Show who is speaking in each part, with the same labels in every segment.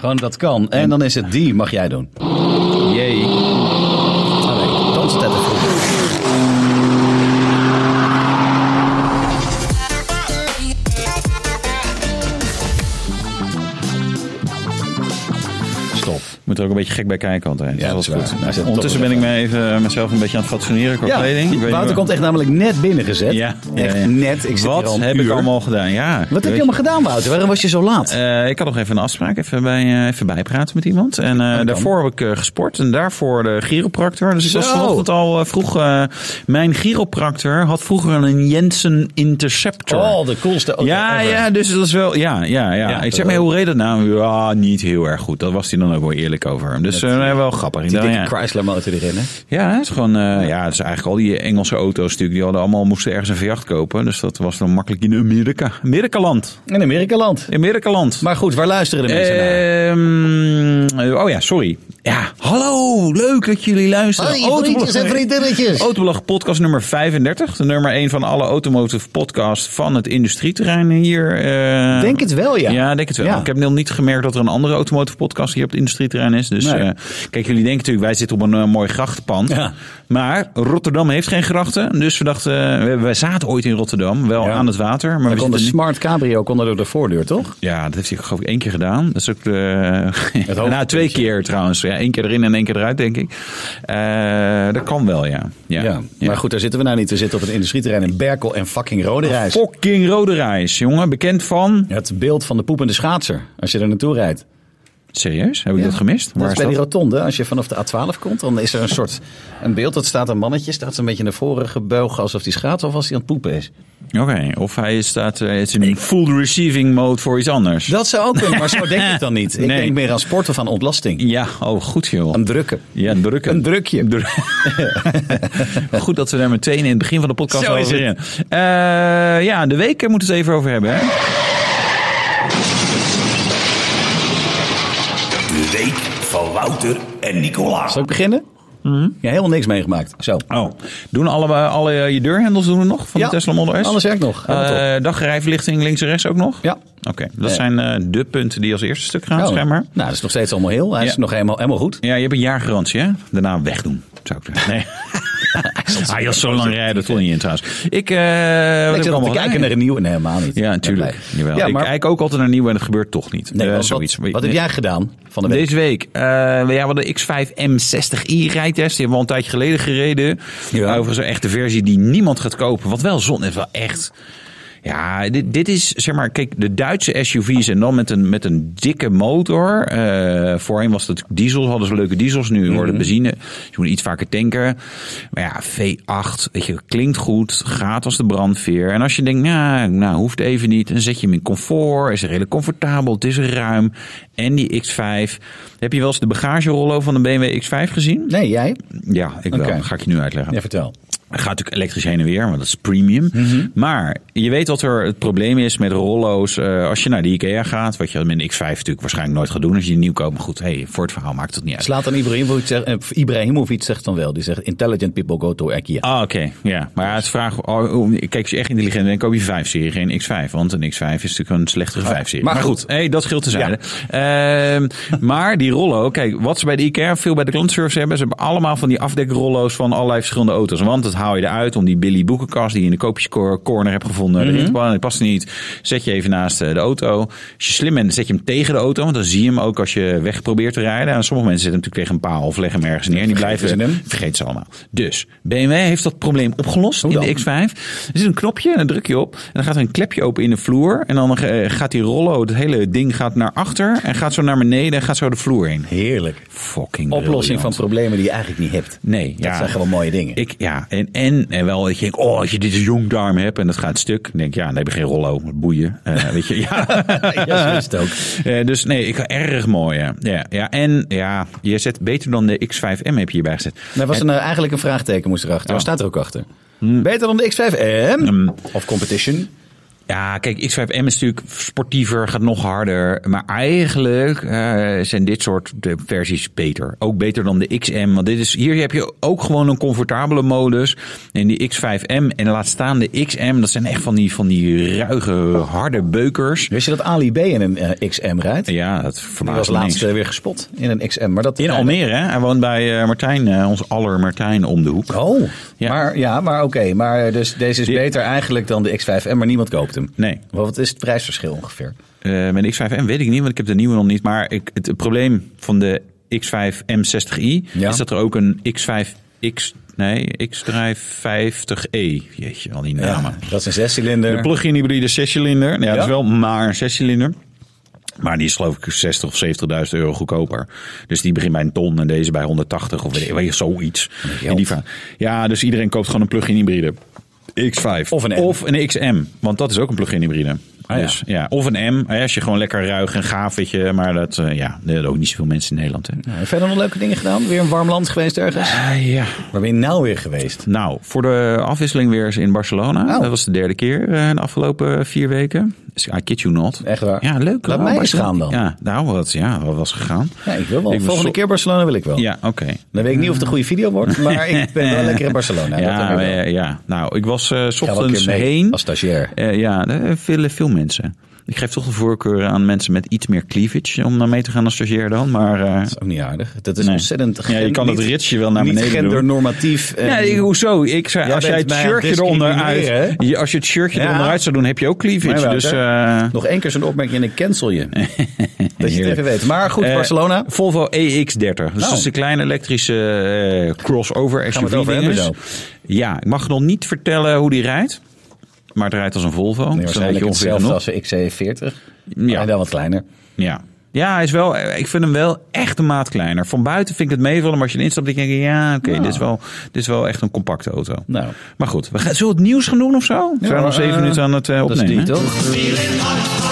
Speaker 1: Gewoon dat kan. En dan is het die, mag jij doen.
Speaker 2: Jee. Oh nee, dan staat het goed.
Speaker 3: Stop. Moet er ook een beetje gek bij kijken altijd.
Speaker 1: Ja,
Speaker 3: Ja, dat is
Speaker 1: dat is
Speaker 3: goed.
Speaker 1: waar. Hij zet
Speaker 3: Ondertussen
Speaker 1: toch
Speaker 3: ben ik
Speaker 1: weer
Speaker 3: me even, eh, mezelf een beetje aan het fatsoeneren qua kleding. Ik weet
Speaker 1: Ja,
Speaker 3: niet
Speaker 1: Wouter
Speaker 3: waar-
Speaker 1: komt echt namelijk net binnengezet.
Speaker 3: Ja, ja,
Speaker 1: Echt
Speaker 3: ja.
Speaker 1: net. Ik zit
Speaker 3: Wat
Speaker 1: hier al een
Speaker 3: heb ik
Speaker 1: uur.
Speaker 3: allemaal gedaan? Ja.
Speaker 1: Wat heb je
Speaker 3: weet
Speaker 1: allemaal gedaan, Wouter? Waarom was je zo laat?
Speaker 3: Eh, ik had nog even een afspraak, even, bij, eh, even bijpraten met iemand. En
Speaker 1: Oh,
Speaker 3: eh, daarvoor heb ik eh, gesport en daarvoor de chiropractor. Dus ik was
Speaker 1: Zo.
Speaker 3: vanochtend al eh, vroeg. eh, mijn chiropractor had vroeger een Jensen Interceptor.
Speaker 1: oh, de coolste auto
Speaker 3: ja,
Speaker 1: ever.
Speaker 3: ja, dus dat is wel. Ja, ja, ja. ik zeg, maar, hoe reed dat nou? Ja, niet heel erg goed. Dat was hij dan ook wel eerlijk over. Dus eh, nee, wel grappig. Ik
Speaker 1: Die
Speaker 3: dacht,
Speaker 1: dikke
Speaker 3: ja.
Speaker 1: Chrysler motor erin, hè?
Speaker 3: Ja, het is gewoon, eh, ja, het is eigenlijk al die Engelse auto's natuurlijk. Die hadden allemaal moesten ergens een V8 kopen. Dus dat was dan makkelijk in Amerika. Amerikaland.
Speaker 1: In Amerikaland.
Speaker 3: Amerikaland.
Speaker 1: Maar goed, waar luisteren de mensen naar?
Speaker 3: Ehm, oh ja, sorry. Ja, hallo, leuk dat jullie luisteren. Autoblog-
Speaker 1: vriendinnetjes.
Speaker 3: Autoblog podcast nummer 35. De nummer 1 van alle automotive podcasts van het industrieterrein hier. eh.
Speaker 1: Denk het wel, ja.
Speaker 3: Ja, denk het wel.
Speaker 1: Ja.
Speaker 3: Ik heb nog niet gemerkt dat er een andere automotive podcast hier op het industrieterrein is. Dus
Speaker 1: Nee.
Speaker 3: eh, kijk, jullie denken natuurlijk, wij zitten op een eh, mooi grachtpand.
Speaker 1: Ja.
Speaker 3: Maar Rotterdam heeft geen grachten. Dus we dachten, eh, we- wij zaten ooit in Rotterdam, wel
Speaker 1: Ja.
Speaker 3: aan het water. Maar
Speaker 1: Dan
Speaker 3: we
Speaker 1: kon de
Speaker 3: zitten nu-
Speaker 1: smart cabrio kon er door de voordeur, toch?
Speaker 3: ja, dat heeft hij geloof ik één keer gedaan. Dat is ook de...
Speaker 1: hoofdpuntje.
Speaker 3: nou, twee keer trouwens. Ja, één keer erin en één keer eruit, denk ik. Eh, dat kan wel, ja. Ja,
Speaker 1: Ja. Maar goed, daar zitten we nou niet. We zitten op het industrieterrein in Berkel en fucking Rode Reis.
Speaker 3: Fucking Rode Reis, jongen. Bekend van...
Speaker 1: Het beeld van de poepende schaatser, als je er naartoe rijdt.
Speaker 3: Serieus? Heb ik dat gemist?
Speaker 1: Dat is bij
Speaker 3: dat?
Speaker 1: die rotonde. Als je vanaf de A12 komt, dan is er een soort een beeld. Dat staat een mannetje, staat een beetje naar voren gebogen. Alsof die schaats of als hij aan het poepen is.
Speaker 3: Oké, of hij staat eh, is in full receiving mode voor iets anders.
Speaker 1: Dat zou ook kunnen, maar zo denk ik dan niet. Ik
Speaker 3: Nee.
Speaker 1: denk meer aan sport of aan ontlasting.
Speaker 3: Ja, oh goed joh.
Speaker 1: Aan drukken.
Speaker 3: Ja, een drukken.
Speaker 1: Een drukje.
Speaker 3: Maar Goed dat we daar meteen in het begin van de podcast
Speaker 1: Zo is
Speaker 3: over in. ja, de week eh, moeten we het even over hebben. Hè?
Speaker 4: De week van Wouter en Nicolaas.
Speaker 1: Zal ik beginnen?
Speaker 3: Mhm.
Speaker 1: Ja, helemaal niks meegemaakt. Zo.
Speaker 3: Oh, doen alle, alle eh, je deurhendels doen we nog van
Speaker 1: Ja,
Speaker 3: de Tesla Model S?
Speaker 1: alles werkt nog. Helemaal top.
Speaker 3: Eh, dagrijverlichting links en rechts ook nog?
Speaker 1: Ja.
Speaker 3: Oké, dat
Speaker 1: Ja.
Speaker 3: zijn eh, de punten die als eerste stuk gaan,
Speaker 1: Oh.
Speaker 3: schijnbaar.
Speaker 1: Nou, dat is nog steeds allemaal heel. Hij
Speaker 3: Ja.
Speaker 1: is nog helemaal, helemaal goed.
Speaker 3: Ja, je hebt een jaar garantie, hè? Daarna wegdoen, zou ik zeggen. Nee. Hij ah, joh, zo lang rijden, dat kon niet in trouwens. Ik, eh
Speaker 1: ik
Speaker 3: wat heb
Speaker 1: zit al
Speaker 3: allemaal
Speaker 1: te kijken
Speaker 3: gedaan?
Speaker 1: naar een nieuwe. Nee, helemaal niet.
Speaker 3: Ja, natuurlijk.
Speaker 1: Ik ben blij.
Speaker 3: Jawel.
Speaker 1: Ja,
Speaker 3: Ik
Speaker 1: maar
Speaker 3: kijk ook altijd naar nieuw en het gebeurt toch niet.
Speaker 1: nee,
Speaker 3: Eh,
Speaker 1: wat,
Speaker 3: zoiets.
Speaker 1: wat, wat heb jij gedaan van de week?
Speaker 3: Deze week, eh ja, we hadden de X5M60i rijtest. Die hebben we al een tijdje geleden gereden.
Speaker 1: Ja.
Speaker 3: Overigens een echte versie die niemand gaat kopen. Wat wel zon is wel echt... Ja, dit, dit is zeg maar, kijk, de Duitse SUV's en dan met een, met een dikke motor. Eh, voorheen was het diesel, hadden ze leuke diesels, nu worden benzine. Dus je moet iets vaker tanken. Maar ja, V8, weet je, klinkt goed, gaat als de brandveer. En als je denkt, nou, nou hoeft even niet, dan zet je hem in comfort. Is redelijk comfortabel, het is ruim. En die X5. Heb je wel eens de bagagerollo van de BMW X5 gezien?
Speaker 1: Nee, jij?
Speaker 3: Ja, ik wel.
Speaker 1: Oké.
Speaker 3: Ga ik je nu uitleggen.
Speaker 1: Ja, vertel.
Speaker 3: Hij gaat natuurlijk elektrisch heen en weer, want dat is premium. Maar je weet wat er het probleem is met rollo's. Eh, als je naar de IKEA gaat, wat je met een X5 natuurlijk waarschijnlijk nooit gaat doen als je die nieuw koopt. Maar goed, hey, voor het verhaal maakt het niet uit.
Speaker 1: Slaat dan Ibrahimovic zegt, eh, Ibrahimovic zegt dan wel. Die zegt, intelligent people go to IKEA.
Speaker 3: Ah, oké. Ja, maar ja, het is vraag. oh, oh, kijk, als je echt intelligent bent, koop je 5-serie, geen X5. Want een X5 is natuurlijk een slechtere 5-serie.
Speaker 1: maar
Speaker 3: Maar, goed,
Speaker 1: goed.
Speaker 3: hey, dat scheelt tezijde. Ehm maar die rollo, kijk, wat ze bij de IKEA veel bij de klantservice hebben, ze hebben allemaal van die afdekrollo's van allerlei verschillende auto's. Want dat haal je eruit om die Billy boekenkast die je in de koopjescorner hebt gevonden
Speaker 1: Mhm.
Speaker 3: erin te plannen. Die past niet. Zet je even naast eh, de auto. Als je slim bent, zet je hem tegen de auto, want dan zie je hem ook als je weg probeert te rijden. En sommige mensen zetten hem natuurlijk tegen een paal of leggen hem ergens neer. En die blijven
Speaker 1: ze hem?
Speaker 3: Vergeet ze allemaal. Dus BMW heeft dat probleem opgelost in
Speaker 1: Oh, dan?
Speaker 3: de X5. Er zit een knopje en dan druk je op. En dan gaat er een klepje open in de vloer. En dan eh, gaat die rollo, het hele ding gaat naar achter. En gaat zo naar beneden en gaat zo de vloer in.
Speaker 1: Heerlijk.
Speaker 3: Fucking
Speaker 1: Oplossing van
Speaker 3: briljant.
Speaker 1: problemen die je eigenlijk niet hebt.
Speaker 3: Nee,
Speaker 1: Dat
Speaker 3: ja.
Speaker 1: zijn gewoon mooie dingen.
Speaker 3: Ik, ja, en, en, en wel dat je denkt, oh, als je dit als jongdarm hebt en dat gaat stuk. Dan denk ik, ja, dan heb je geen rollo, boeien. Eh, weet je, ja.
Speaker 1: Ja, zo is het ook.
Speaker 3: Eh, dus nee, ik erg mooi. Ja. Ja, ja, en ja, je zet beter dan de X5M heb je hierbij gezet.
Speaker 1: Er was een, eh, eigenlijk een Hmm. vraagteken moest erachter. Waar staat er ook achter? Beter dan de X5M? Of Competition?
Speaker 3: Eh, Ja, kijk, X5M is natuurlijk sportiever, gaat nog harder. Maar eigenlijk eh, zijn dit soort eh, versies beter. Ook beter dan de XM. Want dit is, hier heb je ook gewoon een comfortabele modus. En die X5M en laat staan de XM. Dat zijn echt van die, van die ruige, harde beukers.
Speaker 1: Wist je dat Ali B in een eh, XM rijdt?
Speaker 3: Ja, dat
Speaker 1: Die
Speaker 3: verbaast
Speaker 1: was
Speaker 3: me
Speaker 1: laatst
Speaker 3: niks.
Speaker 1: eh, weer gespot in een XM. Maar dat
Speaker 3: In Almere, hè? Hij woont bij eh, Martijn, eh, ons aller Martijn om de hoek.
Speaker 1: Oh,
Speaker 3: Ja.
Speaker 1: maar, ja, maar oké. Maar dus deze is
Speaker 3: Die-
Speaker 1: beter eigenlijk dan de X5M, maar niemand koopt hem.
Speaker 3: Nee.
Speaker 1: Wat is het prijsverschil ongeveer?
Speaker 3: Eh, met de X5M weet ik niet, want ik heb de nieuwe nog niet. Maar ik, het, het probleem van de X5 M60i
Speaker 1: Ja.
Speaker 3: is dat er ook een X5 X nee X-Drive 50e. Jeetje, al die namen.
Speaker 1: dat is een zescilinder.
Speaker 3: De plug-in hybride zescilinder. Ja, dat is wel maar een zescilinder. Maar die is geloof ik 60 of 70.000 euro goedkoper. Dus die begint bij een ton en deze bij 180 of weet ik- weet je, zoiets. En die va- ja, dus iedereen koopt gewoon een plug-in hybride. X5.
Speaker 1: Of een M.
Speaker 3: Of een XM. Want dat is ook een plug-in hybride.
Speaker 1: Ah, ja.
Speaker 3: dus, ja. Of een M. Als je gewoon lekker ruig en gaaf weet je. Maar dat, eh, ja, dat hebben ook niet zoveel mensen in Nederland. Hè.
Speaker 1: Nou, verder nog leuke dingen gedaan? Weer een warm land geweest ergens?
Speaker 3: Ah, ja.
Speaker 1: Waar ben je nou weer geweest?
Speaker 3: Nou, voor de afwisseling weer eens in Barcelona.
Speaker 1: Oh.
Speaker 3: Dat was de derde keer eh, de afgelopen vier weken. Dus I kid you not.
Speaker 1: Echt waar?
Speaker 3: Ja, leuk.
Speaker 1: Laat
Speaker 3: hoor,
Speaker 1: mij eens
Speaker 3: Barcelona.
Speaker 1: gaan dan.
Speaker 3: Ja, nou, wat, ja, wat was gegaan.
Speaker 1: Ja, ik wil wel.
Speaker 3: was
Speaker 1: Volgende
Speaker 3: zo-
Speaker 1: keer Barcelona wil ik wel.
Speaker 3: Ja, oké.
Speaker 1: Dan weet ik niet of het een goede video wordt, maar ik ben wel lekker in Barcelona. dat
Speaker 3: Ja,
Speaker 1: dan weer wel.
Speaker 3: ja, ja, nou, ik was eh, s
Speaker 1: wel een
Speaker 3: ochtends
Speaker 1: keer mee
Speaker 3: heen.
Speaker 1: als stagiair.
Speaker 3: Eh, ja, eh, veel, veel mensen. Ik geef toch de voorkeur aan mensen met iets meer cleavage om naar mee te gaan als stagiair dan. Maar eh,
Speaker 1: Dat is ook niet aardig. Dat is
Speaker 3: Nee.
Speaker 1: ontzettend...
Speaker 3: Ja, je
Speaker 1: gen-
Speaker 3: kan dat
Speaker 1: niet-
Speaker 3: ritsje wel naar
Speaker 1: Niet
Speaker 3: beneden doen.
Speaker 1: gendernormatief. eh,
Speaker 3: Ja, ik- hoezo? Ik zei,
Speaker 1: Jij
Speaker 3: als jij
Speaker 1: bent
Speaker 3: het
Speaker 1: mij aan het
Speaker 3: shirtje eronder uit,
Speaker 1: discrimineren, hè?
Speaker 3: je- als je het shirtje
Speaker 1: Ja.
Speaker 3: eronderuit zou doen, heb je ook cleavage.
Speaker 1: Maar wel,
Speaker 3: dus,
Speaker 1: hè?
Speaker 3: eh,
Speaker 1: Nog één keer zo'n opmerking en ik cancel je. dat je het
Speaker 3: Heerlijk.
Speaker 1: even weet. Maar goed,
Speaker 3: Eh,
Speaker 1: Barcelona.
Speaker 3: Volvo EX30. Dus
Speaker 1: Oh.
Speaker 3: dat is een kleine elektrische eh, crossover
Speaker 1: Gaan we het over hebben
Speaker 3: SUV-dinges. Ja, ik mag nog niet vertellen hoe die rijdt. Maar het rijdt als een
Speaker 1: Nee,
Speaker 3: Volvo. Dus dan weet
Speaker 1: waarschijnlijk
Speaker 3: je ongeveer
Speaker 1: hetzelfde
Speaker 3: genoeg.
Speaker 1: als de XC40.
Speaker 3: Ja.
Speaker 1: Maar dan wat kleiner.
Speaker 3: Ja. Ja, hij is wel, eh, ik vind hem wel echt een maat kleiner. Van buiten vind ik het meevallen, maar als je erin stapt, denk ik... Ja, oké, dit, is wel, dit is wel echt een compacte auto.
Speaker 1: Nou.
Speaker 3: Maar goed, we gaan, zullen we het nieuws gaan doen of zo? we zijn nog
Speaker 1: maar,
Speaker 3: zeven
Speaker 1: eh,
Speaker 3: minuten aan het eh,
Speaker 1: Dat is
Speaker 3: opnemen.
Speaker 1: die,
Speaker 3: hè?
Speaker 1: toch?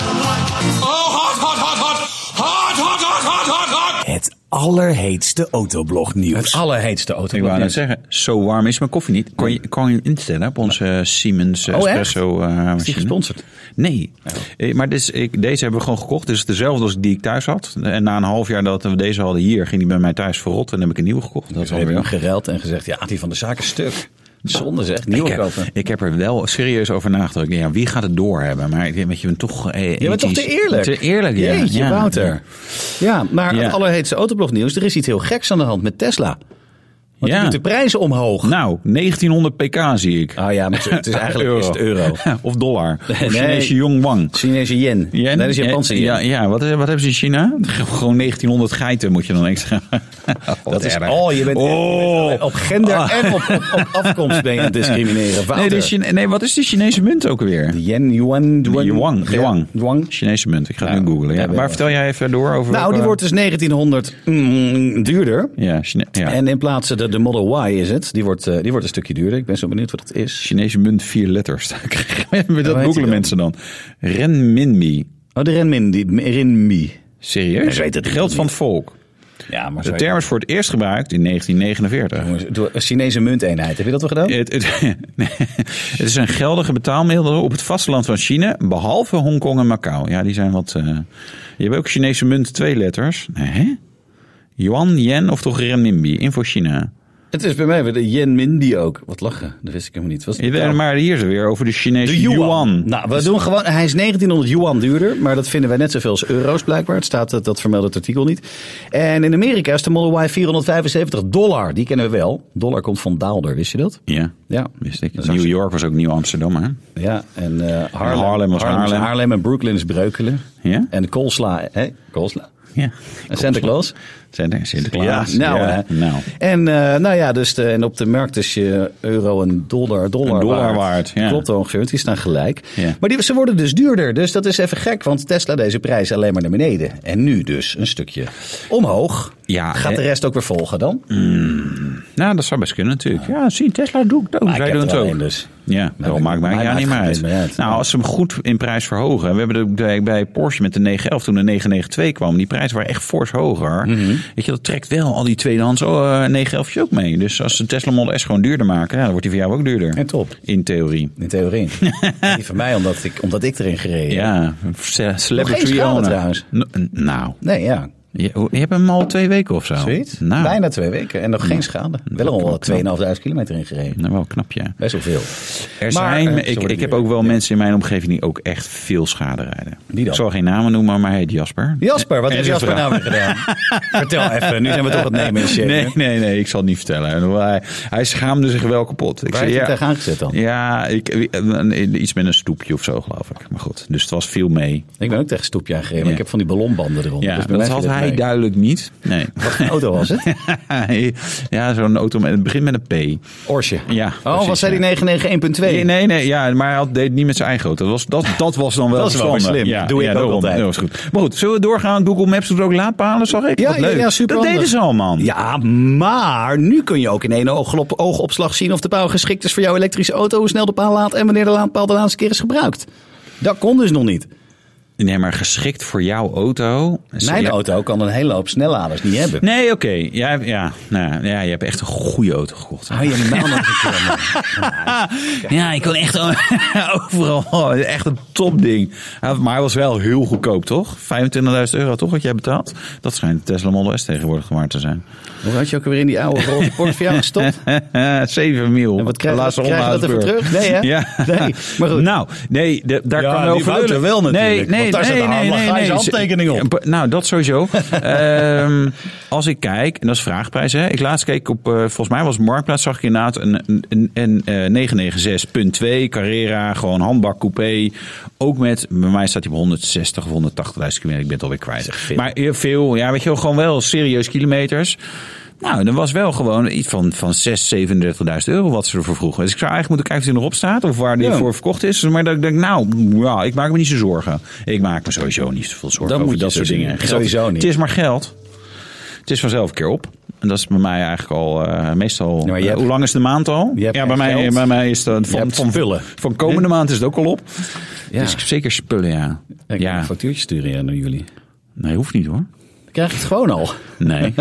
Speaker 4: Het allerheetste autoblognieuws.
Speaker 1: Het allerheetste auto.
Speaker 3: Ik wou net zeggen, zo warm is mijn koffie niet. Kon je, kon je instellen op onze eh, Siemens eh,
Speaker 1: Oh, echt?
Speaker 3: espresso eh
Speaker 1: Is die
Speaker 3: machine.
Speaker 1: gesponsord?
Speaker 3: Nee, Eh, maar dit is- ik, deze hebben we gewoon gekocht. Dit is dezelfde als die ik thuis had. En na een half jaar dat we deze hadden hier, ging die bij mij thuis verrot. En dan heb ik een nieuwe gekocht. Dat
Speaker 1: We hebben hem gereld en gezegd, ja, die van de zaken stuk.
Speaker 3: Nou,
Speaker 1: Zonde zeg,
Speaker 3: ik
Speaker 1: nieuwe
Speaker 3: heb,
Speaker 1: kopen.
Speaker 3: ik heb er wel serieus over nagedacht. Ik denk, Ja, wie gaat het doorhebben? Maar ik denk, weet je, je bent toch... eh,
Speaker 1: Je bent toch te
Speaker 3: ethisch-
Speaker 1: eerlijk?
Speaker 3: Te eerlijk, ja.
Speaker 1: Jeetje,
Speaker 3: ja.
Speaker 1: Wouter. Ja, maar
Speaker 3: Ja.
Speaker 1: het allerheetste autoblognieuws. Er is iets heel geks aan de hand met Tesla. Want
Speaker 3: Ja.
Speaker 1: die doet de prijzen omhoog.
Speaker 3: Nou, 1900 pk zie ik.
Speaker 1: Ah ja, maar het is eigenlijk is het euro.
Speaker 3: of dollar. Of
Speaker 1: Nee.
Speaker 3: Chinese Yongwang.
Speaker 1: Chinese yen.
Speaker 3: Ja,
Speaker 1: Nee, dat is Japanse yen. Oh,
Speaker 3: Ja, ja wat, wat hebben ze in China? Gewoon 1900 geiten moet je dan extra.
Speaker 1: Oh, Dat is,
Speaker 3: erg.
Speaker 1: oh, je bent
Speaker 3: Oh.
Speaker 1: op gender
Speaker 3: Ah.
Speaker 1: en op, op, op afkomst ben je aan het discrimineren. Wouter.
Speaker 3: Nee, de Chine- nee, wat is die Chinese munt ook weer?
Speaker 1: dus Yen, yuan,
Speaker 3: De
Speaker 1: duan,
Speaker 3: Yuan.
Speaker 1: ge-
Speaker 3: Yuan.
Speaker 1: duang.
Speaker 3: Chinese munt. Ik ga het
Speaker 1: Ja,
Speaker 3: nu googlen. Ja.
Speaker 1: ja, wel.
Speaker 3: Maar vertel jij even door over.
Speaker 1: Nou,
Speaker 3: welke-
Speaker 1: die wordt dus 1900 mm, duurder.
Speaker 3: Ja, Chine- ja.
Speaker 1: En in plaats de, de Model Y is het. Die wordt, eh, die wordt een stukje duurder. Ik ben zo benieuwd wat het is.
Speaker 3: Chinese munt vier letters.
Speaker 1: heet
Speaker 3: dat
Speaker 1: die
Speaker 3: googelen
Speaker 1: dan?
Speaker 3: mensen dan. Renminbi.
Speaker 1: Oh, de renmin. Die, renmi.
Speaker 3: Serieus?
Speaker 1: Ik weet het
Speaker 3: Geld
Speaker 1: niet.
Speaker 3: van het volk.
Speaker 1: Ja, maar
Speaker 3: De term is voor het eerst gebruikt in 1949.
Speaker 1: Door een Chinese munteenheid. Heb je dat wel gedaan?
Speaker 3: Het, het, het is een geldige betaalmiddel op het vasteland van China, behalve Hongkong en Macau. Ja, die zijn wat. eh, je hebt ook Chinese munt, twee letters. Nee, hè? Yuan, yen of toch renminbi? Info China.
Speaker 1: Het is bij mij weer de yen mindi ook. Wat lachen. Dat wist ik helemaal niet. Was het
Speaker 3: Je weet-
Speaker 1: nou?
Speaker 3: Maar hier is het weer over de Chinese
Speaker 1: De yuan.
Speaker 3: yuan.
Speaker 1: Nou, we doen gewoon. Hij is 1900 yuan duurder, maar dat vinden wij net zoveel als euro's blijkbaar. Het staat dat, dat vermeldt het artikel niet. En in Amerika is de Model Y 475 dollar. Die kennen we wel. Dollar komt van daalder, wist je dat?
Speaker 3: Ja,
Speaker 1: Ja,
Speaker 3: wist ik.
Speaker 1: Dat is
Speaker 3: New York was ook Nieuw Amsterdam, hè?
Speaker 1: Ja, en eh, Haarlem,
Speaker 3: Haarlem was
Speaker 1: is
Speaker 3: Haarlem.
Speaker 1: en Brooklyn is Breukelen.
Speaker 3: Ja?
Speaker 1: En Koolsla, hè? Koolsla.
Speaker 3: Ja.
Speaker 1: En Santa Claus.
Speaker 3: Zijn er Sinterklaas?
Speaker 1: nou,
Speaker 3: Ja,
Speaker 1: hè.
Speaker 3: nou.
Speaker 1: En eh, nou ja, dus de, en op de markt is je euro en dollar, dollar,
Speaker 3: Een dollar
Speaker 1: waard.
Speaker 3: waard, ja.
Speaker 1: Klopt ongeveer, want die staan gelijk.
Speaker 3: Ja.
Speaker 1: Maar die, ze worden dus duurder, dus dat is even gek, want Tesla deze prijs alleen maar naar beneden. En nu dus een stukje omhoog.
Speaker 3: Ja,
Speaker 1: Gaat
Speaker 3: hè. Mm.
Speaker 1: de rest ook weer volgen dan?
Speaker 3: Nou, dat zou best kunnen natuurlijk. Ja, zie, Tesla doet het ook.
Speaker 1: Maar ik
Speaker 3: Zij
Speaker 1: heb
Speaker 3: doen het
Speaker 1: er wel
Speaker 3: ook.
Speaker 1: een, dus.
Speaker 3: Ja,
Speaker 1: Maar
Speaker 3: dat
Speaker 1: ik-
Speaker 3: maakt mij
Speaker 1: mij
Speaker 3: ja,
Speaker 1: maakt
Speaker 3: niet meer
Speaker 1: het
Speaker 3: uit.
Speaker 1: niet meer uit.
Speaker 3: Nou, als ze hem goed in prijs verhogen. We hebben het ook bij- bij Porsche met de 911 toen de 992 kwam. Die prijzen waren echt fors hoger.
Speaker 1: Mhm.
Speaker 3: Weet je, dat trekt wel al die tweedehands oh, 911 ook mee. Dus als ze Tesla Model S gewoon duurder maken, ja, dan wordt die voor jou ook duurder.
Speaker 1: En top.
Speaker 3: In theorie.
Speaker 1: In theorie. Die van mij, omdat ik, omdat ik erin gereden heb.
Speaker 3: Ja, ce-
Speaker 1: Nog geen
Speaker 3: celebrity
Speaker 1: schade
Speaker 3: owner.
Speaker 1: trouwens.
Speaker 3: N- Nou,
Speaker 1: Nee, ja.
Speaker 3: je, hoe- je hebt hem al twee weken of zo.
Speaker 1: Zoiets?
Speaker 3: Nou,
Speaker 1: Bijna twee weken en nog geen schade. Wel al 2.500 kilometer in gereden.
Speaker 3: Nou, wel knap, ja.
Speaker 1: Best wel veel. Maar,
Speaker 3: Er zijn,
Speaker 1: eh,
Speaker 3: ik,
Speaker 1: sorry,
Speaker 3: ik heb ook wel mensen in mijn omgeving die ook echt veel schade rijden.
Speaker 1: Wie dan?
Speaker 3: Ik zal geen namen noemen, maar hij heet Jasper.
Speaker 1: Jasper, wat
Speaker 3: En
Speaker 1: heeft
Speaker 3: zijn
Speaker 1: Jasper
Speaker 3: vrouw.
Speaker 1: nou weer gedaan? Vertel even, nu zijn we toch het nemen in shape.
Speaker 3: Nee, nee, nee, ik zal het niet vertellen. Hij, hij schaamde zich wel kapot. Ik
Speaker 1: Waar
Speaker 3: zei,
Speaker 1: heeft hij
Speaker 3: ja,
Speaker 1: het tegenaan gezet dan?
Speaker 3: Ja, ik, eh, iets met een stoepje of zo, geloof ik. Maar goed, dus het was veel mee.
Speaker 1: Ik ben ook tegen stoepje aangereden, maar
Speaker 3: Ja.
Speaker 1: ik heb van die ballonbanden eronder.
Speaker 3: Ja,
Speaker 1: Dus bij
Speaker 3: dat
Speaker 1: mij
Speaker 3: had
Speaker 1: viel het
Speaker 3: hij
Speaker 1: mee.
Speaker 3: duidelijk niet. Nee.
Speaker 1: Wat voor auto was het?
Speaker 3: ja, zo'n auto, met, het begint met een P.
Speaker 1: Orsje.
Speaker 3: Ja,
Speaker 1: oh,
Speaker 3: precies,
Speaker 1: was
Speaker 3: ja.
Speaker 1: hij die 991.2?
Speaker 3: Nee, nee, nee, ja, maar hij had- deed het niet met zijn eigen auto. Dat was, dat, dat was dan wel
Speaker 1: Dat is wel weer
Speaker 3: verstandig.
Speaker 1: slim.
Speaker 3: Ja,
Speaker 1: Doe ik
Speaker 3: ja,
Speaker 1: ook
Speaker 3: daarom.
Speaker 1: altijd.
Speaker 3: Dat was goed. Maar goed, zullen we doorgaan? Google Maps doet ook laadpalen, zag ik. Wat leuk. dat
Speaker 1: handig.
Speaker 3: deden ze al, man.
Speaker 1: Ja, maar nu kun je ook in één ooglop- oogopslag zien of de paal geschikt is voor jouw elektrische auto, hoe snel de paal laat en wanneer de laadpaal de laatste keer is gebruikt. Dat kon dus nog niet.
Speaker 3: Nee, maar geschikt voor jouw auto.
Speaker 1: Mijn
Speaker 3: Ja.
Speaker 1: auto kan een hele hoop snelladers niet hebben.
Speaker 3: Nee, oké. Ja, ja, nou, ja, ja, je hebt echt een goede auto gekocht.
Speaker 1: Hou je hem nou nog een keer, man.
Speaker 3: Ja, ik kon echt o- overal. oh, Echt een topding. Ja, Maar hij was wel heel goedkoop, toch? 25.000 euro, toch? Wat jij betaalt? Dat schijnt de Tesla Model S tegenwoordig waard te zijn.
Speaker 1: Hoe had je ook weer in die oude roze Porsche voor jou gestopt?
Speaker 3: 7 mil.
Speaker 1: En wat krijg-
Speaker 3: De laatste
Speaker 1: krijg je dat
Speaker 3: ronde
Speaker 1: even
Speaker 3: Haagsburg.
Speaker 1: terug? Nee, hè?
Speaker 3: Ja.
Speaker 1: Nee, maar goed.
Speaker 3: Nou, nee, de- daar
Speaker 1: Ja,
Speaker 3: kan
Speaker 1: die
Speaker 3: over
Speaker 1: Wouter
Speaker 3: lullen.
Speaker 1: wel natuurlijk,
Speaker 3: Nee, nee,
Speaker 1: want daar
Speaker 3: nee,
Speaker 1: staat de
Speaker 3: nee, nee,
Speaker 1: Hamlaagse
Speaker 3: nee.
Speaker 1: handtekening op.
Speaker 3: Ja, pa- nou, dat sowieso. Ehm, als ik kijk, en dat is vraagprijs, hè. Ik laatst keek op, eh, volgens mij was Marktplaats, zag ik inderdaad een, een, een, een, eh, 996.2 Carrera, gewoon handbak coupé. Ook met, bij mij staat hij op 160 of 180.000 kilometer, ik ben het alweer kwijt.
Speaker 1: veel.
Speaker 3: Maar heel veel, ja, weet je wel, gewoon wel serieus kilometers. Nou, dan was wel gewoon iets van, van 6, 37.000 euro wat ze ervoor vroegen. Dus ik zou eigenlijk moeten kijken of die erop staat of waar die
Speaker 1: Ja.
Speaker 3: voor verkocht is. Maar dat ik denk, nou, ja, ik maak me niet zo zorgen. Ik maak me sowieso niet zoveel zorgen
Speaker 1: Dat
Speaker 3: over
Speaker 1: moet je
Speaker 3: dat soort
Speaker 1: dus
Speaker 3: dingen.
Speaker 1: niet. Sowieso niet.
Speaker 3: Het is maar geld. Het is vanzelf een keer op. En dat is bij mij eigenlijk al eh, meestal...
Speaker 1: maar je
Speaker 3: eh,
Speaker 1: hebt-
Speaker 3: hoe lang is de maand al?
Speaker 1: je hebt
Speaker 3: Ja, bij mij,
Speaker 1: geld.
Speaker 3: bij mij is dat van,
Speaker 1: hebt
Speaker 3: van,
Speaker 1: spullen.
Speaker 3: van komende maand is het ook al op.
Speaker 1: Ja.
Speaker 3: Dus zeker spullen, ja.
Speaker 1: Ik kan
Speaker 3: Ja,
Speaker 1: een factuurtje sturen ja, naar jullie.
Speaker 3: nee, hoeft niet hoor.
Speaker 1: Dan krijg je het gewoon al.
Speaker 3: Nee.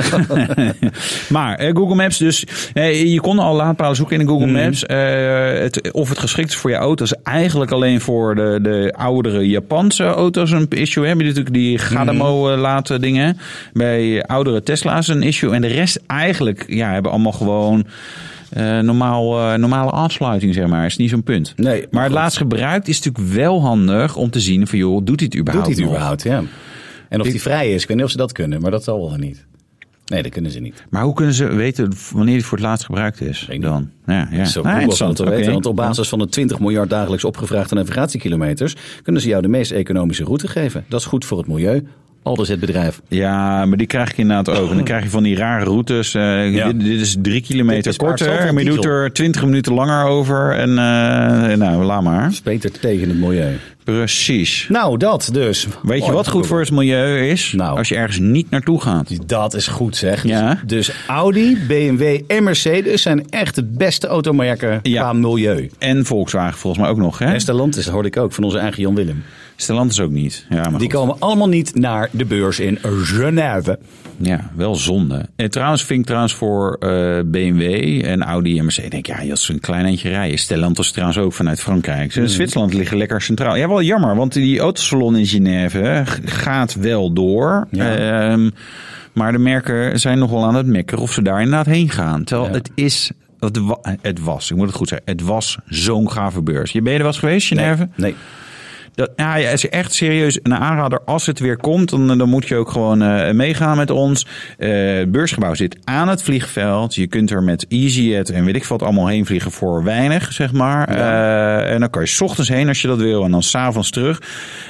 Speaker 3: maar eh, Google Maps dus. eh, je kon al laadpalen zoeken in de Google
Speaker 1: Mhm.
Speaker 3: Maps. Eh, het, of het geschikt is voor je auto is eigenlijk alleen voor de, de oudere Japanse auto's een issue. Heb je natuurlijk die
Speaker 1: Mhm.
Speaker 3: Gadamo eh, laten dingen. Bij oudere Tesla's een issue. En de rest eigenlijk ja, hebben allemaal gewoon... eh, normaal, eh, normale afsluiting, zeg maar, is niet zo'n punt.
Speaker 1: Nee,
Speaker 3: maar het laatst gebruikt is natuurlijk wel handig om te zien van... joh, doet hij het
Speaker 1: Doet
Speaker 3: überhaupt
Speaker 1: hij het
Speaker 3: nog?
Speaker 1: überhaupt, ja. En of die vrij is, ik weet niet of ze dat kunnen, maar dat zal wel niet. Nee, dat kunnen ze niet.
Speaker 3: Maar hoe kunnen ze weten wanneer die voor het laatst gebruikt is?
Speaker 1: Weet ik
Speaker 3: Dan. Ja, ja.
Speaker 1: Zo
Speaker 3: Ah,
Speaker 1: Google zal
Speaker 3: interessant.
Speaker 1: het wel
Speaker 3: Oké.
Speaker 1: weten, want op basis van de 20 miljard dagelijks opgevraagde navigatiekilometers... kunnen ze jou de meest economische route geven. Dat is goed voor het milieu, aldus het bedrijf.
Speaker 3: Ja, maar die krijg ik inderdaad ook. En dan krijg je van die rare routes. eh,
Speaker 1: Ja.
Speaker 3: dit, dit is drie kilometer
Speaker 1: Dit bespaart
Speaker 3: korter.
Speaker 1: zoveel
Speaker 3: Maar je doet
Speaker 1: diesel.
Speaker 3: er twintig minuten langer over. En eh, nou, laat maar.
Speaker 1: Beter tegen het milieu.
Speaker 3: Precies.
Speaker 1: Nou, dat dus.
Speaker 3: Weet je
Speaker 1: Mooi,
Speaker 3: wat goed voor het milieu is?
Speaker 1: Nou.
Speaker 3: Als je ergens niet naartoe gaat.
Speaker 1: Dat is goed zeg.
Speaker 3: Ja.
Speaker 1: Dus Audi, BMW en Mercedes zijn echt het beste automerken
Speaker 3: Ja.
Speaker 1: qua milieu.
Speaker 3: En Volkswagen volgens mij ook nog. Hè?
Speaker 1: En Stellantis, dat hoorde ik ook van onze eigen Jan Willem.
Speaker 3: Stellantis ook niet. Ja, maar
Speaker 1: Die
Speaker 3: goed.
Speaker 1: komen allemaal niet naar de beurs in Genève.
Speaker 3: Ja, wel zonde. En trouwens vind ik trouwens voor eh, BMW en Audi en Mercedes... denk ik, ja, dat is een klein eentje rijden. Stellantis trouwens ook vanuit Frankrijk. Ze in Zwitserland liggen lekker centraal. Ja, wel jammer, want die autosalon in Genève g- gaat wel door. Ehm, maar de merken zijn nog wel aan het mekkeren of ze daar inderdaad heen gaan. Terwijl Oh, het is... Het, wa- het was, ik moet het goed zeggen, het was zo'n gave beurs. Je ben je er was geweest, Genève?
Speaker 1: Nee.
Speaker 3: Dat, ja, ja, is echt serieus een aanrader. Als het weer komt, dan, dan moet je ook gewoon eh, meegaan met ons. Eh, het beursgebouw zit aan het vliegveld. Je kunt er met EasyJet en weet ik wat allemaal heen vliegen voor weinig, zeg maar. Eh, en dan kan je 's ochtends heen als je dat wil en dan s'avonds terug.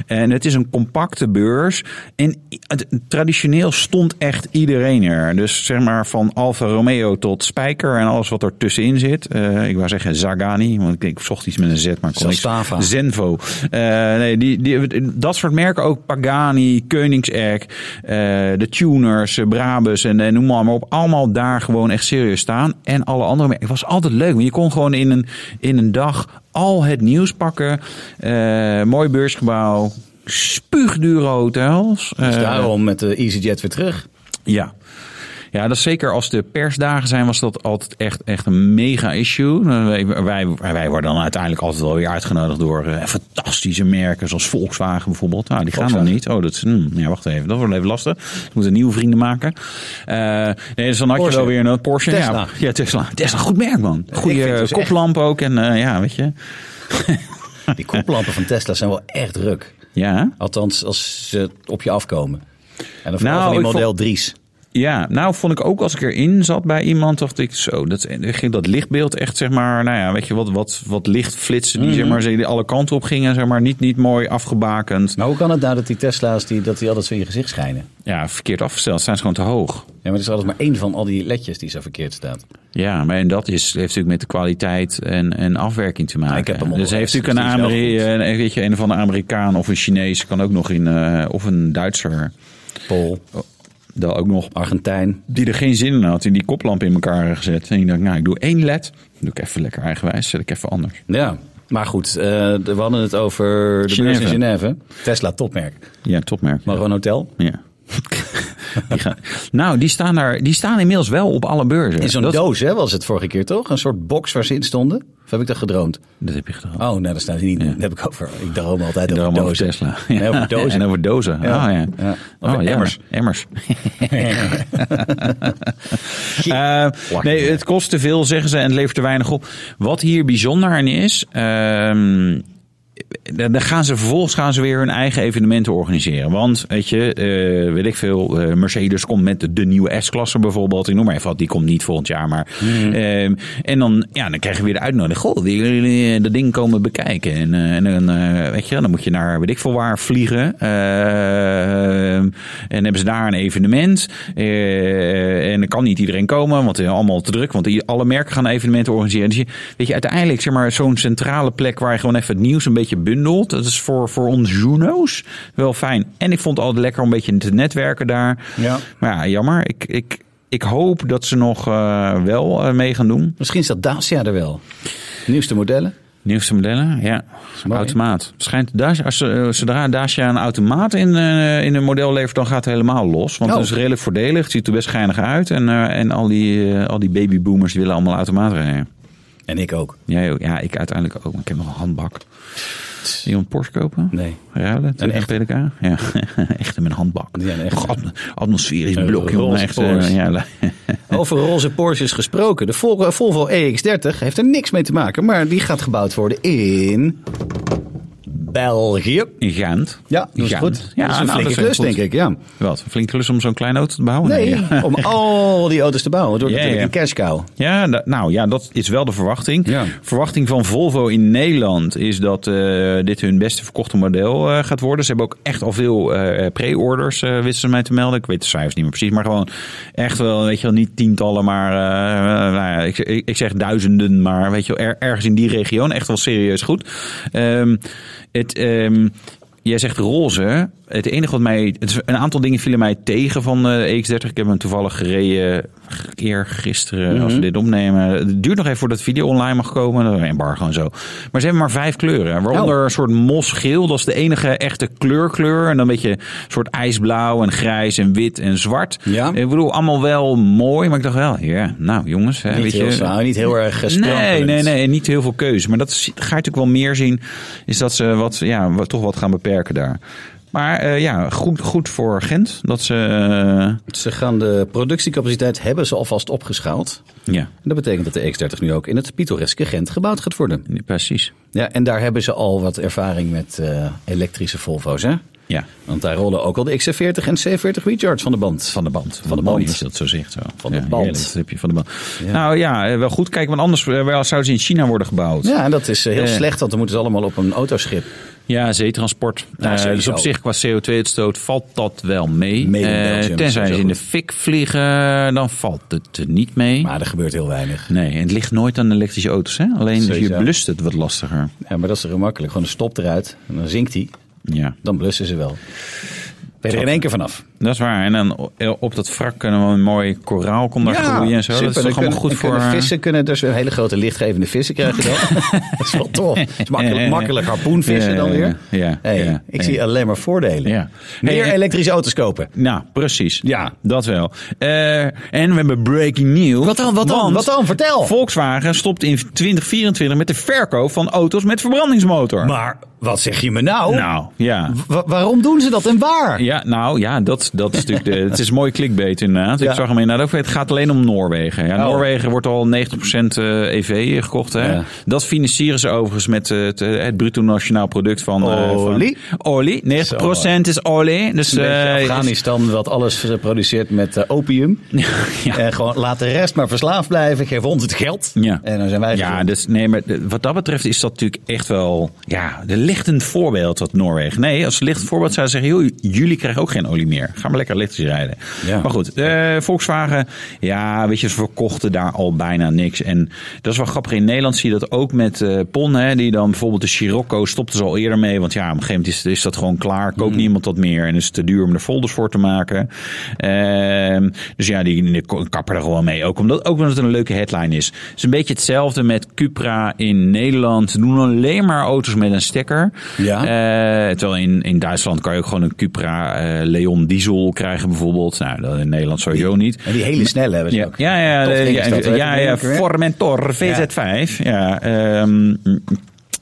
Speaker 3: En het is een compacte beurs. En i- het- traditioneel stond echt iedereen er. Dus zeg maar van Alfa Romeo tot Spijker en alles wat ertussenin zit. Eh, ik wou zeggen Zagani, want ik, ik zocht iets met een Z, maar kon niks.
Speaker 1: Zastava.
Speaker 3: Zenvo. Eh, nee, die, die, dat soort merken ook. Pagani, Koenigsegg, eh, de Tuners, eh, Brabus en, en noem maar op. Allemaal daar gewoon echt serieus staan. En alle andere merken. Het was altijd leuk, want je kon gewoon in een, in een dag al het nieuws pakken. Eh, mooi beursgebouw. Spuugdure hotels.
Speaker 1: Dus
Speaker 3: Eh,
Speaker 1: daarom met de EasyJet weer terug.
Speaker 3: ja. Ja, dat is zeker als de persdagen zijn, was dat altijd echt, echt een mega issue. Eh, Wij, wij, wij worden dan uiteindelijk altijd wel weer uitgenodigd door eh, fantastische merken, zoals Volkswagen bijvoorbeeld. Nou, die gaan nog
Speaker 1: Volkswagen.
Speaker 3: niet. Oh, dat is, hmm, ja, wacht even, dat wordt even lastig. Ik moet een nieuwe vrienden maken. Eh, nee, dus dan had
Speaker 1: Porsche.
Speaker 3: je wel weer een Porsche.
Speaker 1: Tesla.
Speaker 3: Ja, ja, Tesla. Tesla, goed merk man.
Speaker 1: Ik vind
Speaker 3: Goede
Speaker 1: het dus
Speaker 3: koplamp ook en eh, ja, weet je.
Speaker 1: Die koplampen van Tesla zijn wel echt druk.
Speaker 3: Ja, hè?
Speaker 1: Althans, als ze op je afkomen. En dan vooral
Speaker 3: Nou,
Speaker 1: van die
Speaker 3: ik
Speaker 1: model 3's.
Speaker 3: Ja, nou vond ik ook als ik erin zat bij iemand, dacht ik zo, dat ging dat lichtbeeld echt zeg maar, nou ja, weet je wat, wat, wat lichtflitsen die zeg
Speaker 1: Mhm.
Speaker 3: maar die alle kanten op gingen, zeg maar niet, niet mooi afgebakend.
Speaker 1: Maar hoe kan het nou dat die Tesla's die, dat die altijd zo in je gezicht schijnen?
Speaker 3: Ja, verkeerd afgesteld, zijn ze gewoon te hoog.
Speaker 1: Ja, maar er is altijd maar één van al die ledjes die zo verkeerd staat.
Speaker 3: Ja, maar en dat is, heeft natuurlijk met de kwaliteit en, en afwerking te maken.
Speaker 1: Ik heb hem al
Speaker 3: dus heeft
Speaker 1: eens,
Speaker 3: natuurlijk een,
Speaker 1: dus die is
Speaker 3: Ameri
Speaker 1: wel
Speaker 3: een, een- weet je, een of andere Amerikaan of een Chinees kan ook nog in, eh, of een Duitser,
Speaker 1: Pol,
Speaker 3: Oh. dat ook nog
Speaker 1: Argentijn.
Speaker 3: die er geen zin in had, die die koplamp in elkaar gezet. En die dacht, nou, ik doe één led, doe ik even lekker eigenwijs, zet ik even anders.
Speaker 1: Ja, maar goed. eh, we hadden het over de beurs in Genève. Tesla topmerk.
Speaker 3: Ja, topmerk.
Speaker 1: Maar gewoon hotel.
Speaker 3: Ja. die gaan, nou, die staan, daar, die staan inmiddels wel op alle beurzen.
Speaker 1: In zo'n
Speaker 3: dat,
Speaker 1: doos hè, was het vorige keer toch? Een soort box waar ze in stonden. Of heb ik dat gedroomd?
Speaker 3: dat heb je gedaan.
Speaker 1: Oh, nou, daar staat hij niet. in. Dat heb ik over. Ik droom altijd over
Speaker 3: Daarom over
Speaker 1: dozen.
Speaker 3: Tesla.
Speaker 1: Nee, over dozen.
Speaker 3: En over dozen.
Speaker 1: Ja.
Speaker 3: Oh, ja.
Speaker 1: Ja.
Speaker 3: Oh,
Speaker 1: Over
Speaker 3: ja.
Speaker 1: emmers.
Speaker 3: Emmers. Eh, nee, het kost te veel, zeggen ze, en het levert te weinig op. Wat hier bijzonder aan is. ehm, dan dan gaan ze vervolgens gaan ze weer hun eigen evenementen organiseren. Want, weet je, eh, weet ik veel, eh, Mercedes komt met de, de nieuwe S-klasse bijvoorbeeld. Ik noem maar even wat, die komt niet volgend jaar. Maar, ehm, en dan, ja, dan krijg je weer de uitnodiging. Goh, willen jullie eh, dat ding komen bekijken? En, eh, en dan, eh, weet je, dan moet je naar, weet ik veel waar, vliegen. Eh, en hebben ze daar een evenement. Eh, en dan kan niet iedereen komen, want het is allemaal te druk. Want i- alle merken gaan evenementen organiseren. Dus je, weet je, uiteindelijk, zeg maar, zo'n centrale plek waar je gewoon even het nieuws een beetje bundelt. Dat is voor, voor ons journo's wel fijn. En ik vond het altijd lekker om een beetje te netwerken daar.
Speaker 1: Ja.
Speaker 3: Maar ja, jammer. Ik, ik, ik hoop dat ze nog eh, wel eh, mee gaan doen.
Speaker 1: Misschien staat Dacia er wel. Nieuwste modellen.
Speaker 3: Nieuwste modellen, ja.
Speaker 1: mooi.
Speaker 3: Automaat. Schijnt Dacia, als, eh, zodra Dacia een automaat in, eh, in een model levert, dan gaat het helemaal los. Want
Speaker 1: Oh.
Speaker 3: dat is redelijk voordelig. Het ziet er best geinig uit. En, eh, en al, die, eh, al die babyboomers willen allemaal automaat rijden.
Speaker 1: En ik ook.
Speaker 3: Jij ook? Ja, ik uiteindelijk ook. Maar ik heb nog een handbak. Wil je een Porsche kopen?
Speaker 1: Nee.
Speaker 3: Ruilen?
Speaker 1: Een
Speaker 3: Een echt PDK? Ja, echt in mijn handbak.
Speaker 1: Ja, een echte.
Speaker 3: Och, atm- atmosferisch
Speaker 1: Een
Speaker 3: blok, jongen.
Speaker 1: roze
Speaker 3: Echt, eh,
Speaker 1: Porsche.
Speaker 3: ja, la-
Speaker 1: Over roze Porsches gesproken. De Vol- eh, Volvo EX30 heeft er niks mee te maken, maar die gaat gebouwd worden in België.
Speaker 3: in Gent.
Speaker 1: Ja, dat is
Speaker 3: Gent.
Speaker 1: goed.
Speaker 3: Ja,
Speaker 1: dat is een
Speaker 3: nou,
Speaker 1: flinke
Speaker 3: dat is
Speaker 1: klus,
Speaker 3: goed.
Speaker 1: denk ik. Ja.
Speaker 3: Wat? Een flinke klus om zo'n kleine auto te bouwen?
Speaker 1: Nee,
Speaker 3: ja.
Speaker 1: om al die auto's te bouwen. Door
Speaker 3: Ja,
Speaker 1: natuurlijk
Speaker 3: ja.
Speaker 1: een cash cow.
Speaker 3: Ja, da- nou ja, dat is wel de verwachting.
Speaker 1: Ja.
Speaker 3: Verwachting van Volvo in Nederland is dat eh, dit hun beste verkochte model eh, gaat worden. Ze hebben ook echt al veel eh, pre-orders, eh, wisten ze mij te melden. Ik weet de cijfers niet meer precies, maar gewoon echt wel, weet je wel, niet tientallen, maar eh, nou ja, ik, ik, ik zeg duizenden, maar weet je wel, er- ergens in die regio. Echt wel serieus goed. Ehm, het, ehm, Jij zegt roze. Het enige wat mij. Het is, een aantal dingen vielen mij tegen van de X30. Ik heb hem toevallig gereden. Eergisteren,
Speaker 1: Mhm.
Speaker 3: als we dit opnemen. Het duurt nog even voordat het video online mag komen. Dat is een embargo en zo. Maar ze hebben maar vijf kleuren. Waaronder
Speaker 1: Oh.
Speaker 3: een soort mosgeel. Dat is de enige echte kleurkleur. En dan een beetje een soort ijsblauw en grijs en wit en zwart.
Speaker 1: Ja.
Speaker 3: Ik bedoel, allemaal wel mooi. Maar ik dacht wel, ja, nou jongens. hè,
Speaker 1: Niet
Speaker 3: weet
Speaker 1: heel,
Speaker 3: je,
Speaker 1: zwaar, niet heel erg eh,
Speaker 3: Nee,
Speaker 1: gesprankeld.
Speaker 3: nee, nee, niet heel veel keuze. Maar dat is- ga je natuurlijk wel meer zien, is dat ze wat, ja, wat- toch wat gaan beperken daar. Maar eh, ja, goed, goed voor Gent. Dat ze, eh,
Speaker 1: Ze gaan de productiecapaciteit hebben ze alvast opgeschaald.
Speaker 3: ja,
Speaker 1: En dat betekent dat de X30 nu ook in het pittoreske Gent gebouwd gaat worden.
Speaker 3: precies.
Speaker 1: Ja, en daar hebben ze al wat ervaring met eh, elektrische Volvo's, hè?
Speaker 3: Ja,
Speaker 1: Want daar rollen ook al de XC40 en C40 recharge van de band.
Speaker 3: van de band. Van
Speaker 1: de
Speaker 3: Mooi
Speaker 1: band.
Speaker 3: Is dat zo zegt. Zo.
Speaker 1: Van de
Speaker 3: Ja,
Speaker 1: band.
Speaker 3: heerlijk, dat heb je van de band. Nou ja, eh, wel goed kijken, want anders eh, wel zouden ze in China worden gebouwd.
Speaker 1: Ja, en dat is eh, heel
Speaker 3: Eh.
Speaker 1: slecht, want dan moeten ze allemaal op een autoschip.
Speaker 3: Ja, zeetransport.
Speaker 1: Ja,
Speaker 3: Eh, dus
Speaker 1: sowieso.
Speaker 3: op zich qua CO2-uitstoot valt dat wel mee.
Speaker 1: Mede in
Speaker 3: Eh,
Speaker 1: Belgium,
Speaker 3: tenzij ze
Speaker 1: sowieso
Speaker 3: in de
Speaker 1: goed.
Speaker 3: fik vliegen, dan valt het er niet mee.
Speaker 1: Maar er gebeurt heel weinig.
Speaker 3: Nee, en het ligt nooit aan elektrische auto's. Hè? Alleen dus je
Speaker 1: Sowieso.
Speaker 3: blust het wat lastiger.
Speaker 1: Ja, maar dat is heel makkelijk. Gewoon een stop eruit en dan zinkt hij.
Speaker 3: Ja,
Speaker 1: Dan blussen ze wel. Ben je er in één keer vanaf.
Speaker 3: dat is waar. En dan op dat wrak kunnen we een mooi koraal komen daar groeien en zo.
Speaker 1: super.
Speaker 3: Dat is
Speaker 1: Dan
Speaker 3: toch allemaal
Speaker 1: kunnen- dan
Speaker 3: goed voor... eh,
Speaker 1: kunnen vissen kunnen dus weer hele grote lichtgevende vissen krijgen dan. dat is wel tof. Het is makkelijk,
Speaker 3: Ja, ja, ja.
Speaker 1: makkelijk harpoenvissen
Speaker 3: Ja,
Speaker 1: dan
Speaker 3: ja,
Speaker 1: weer.
Speaker 3: ja, ja,
Speaker 1: hey,
Speaker 3: ja,
Speaker 1: ik
Speaker 3: ja.
Speaker 1: zie alleen maar voordelen.
Speaker 3: Ja.
Speaker 1: Meer
Speaker 3: Hey,
Speaker 1: elektrische auto's kopen.
Speaker 3: Nou, precies.
Speaker 1: Ja.
Speaker 3: Dat wel. Eh, en we hebben breaking news.
Speaker 1: Wat dan, wat dan, wat
Speaker 3: Want
Speaker 1: dan? Vertel.
Speaker 3: Volkswagen stopt in 2024 met de verkoop van auto's met verbrandingsmotor.
Speaker 1: Maar wat zeg je me nou?
Speaker 3: Nou, ja.
Speaker 1: Wa- waarom doen ze dat en waar?
Speaker 3: Ja, nou ja, dat, dat is natuurlijk. De, het is mooi clickbait inderdaad.
Speaker 1: Ja.
Speaker 3: Ik zag hem inderdaad ook. Het gaat alleen om Noorwegen. Ja,
Speaker 1: Oh.
Speaker 3: Noorwegen wordt al 90% eh, EV gekocht. Hè?
Speaker 1: Ja.
Speaker 3: Dat financieren ze overigens met eh, het, eh, het bruto nationaal product van eh, van-
Speaker 1: Olie.
Speaker 3: Olie. 90% is olie. Dus
Speaker 1: Een beetje
Speaker 3: eh,
Speaker 1: Afghanistan, wat alles produceert met eh, opium.
Speaker 3: Ja.
Speaker 1: En gewoon laat de rest maar verslaafd blijven. Geef ons het geld.
Speaker 3: Ja.
Speaker 1: En dan zijn wij
Speaker 3: Ja,
Speaker 1: gezond.
Speaker 3: dus, nee, maar de- wat dat betreft is dat natuurlijk echt wel ja, de lichtend voorbeeld dat Noorwegen. Nee, als lichtend voorbeeld zou zeggen, joh, jullie krijgen ook geen olie meer. Ga maar lekker elektrisch rijden.
Speaker 1: Ja.
Speaker 3: Maar goed, eh, Volkswagen, ja, weet je, ze verkochten daar al bijna niks. En dat is wel grappig. In Nederland zie je dat ook met eh, PON, hè, die dan bijvoorbeeld de Scirocco stopten ze al eerder mee. Want ja, op een gegeven moment is, is dat gewoon klaar. Koopt niemand dat meer en is het te duur om er folders voor te maken. Ehm, dus ja, die, die kappen er gewoon mee. Ook omdat, ook omdat het een leuke headline is. Het is een beetje hetzelfde met Cupra in Nederland. Ze doen alleen maar auto's met een stekker.
Speaker 1: Ja.
Speaker 3: Eh, terwijl in, in Duitsland kan je ook gewoon een Cupra eh, Leon diesel krijgen bijvoorbeeld. Nou, dat in Nederland sowieso niet.
Speaker 1: En die hele snelle hebben ze
Speaker 3: Ja,
Speaker 1: ook.
Speaker 3: ja, ja,
Speaker 1: Tof
Speaker 3: de-
Speaker 1: ding
Speaker 3: ja,
Speaker 1: is dat, hè?
Speaker 3: ja, ja,
Speaker 1: Hoe heet het ook weer?
Speaker 3: Formentor VZ5. Ja, ehm,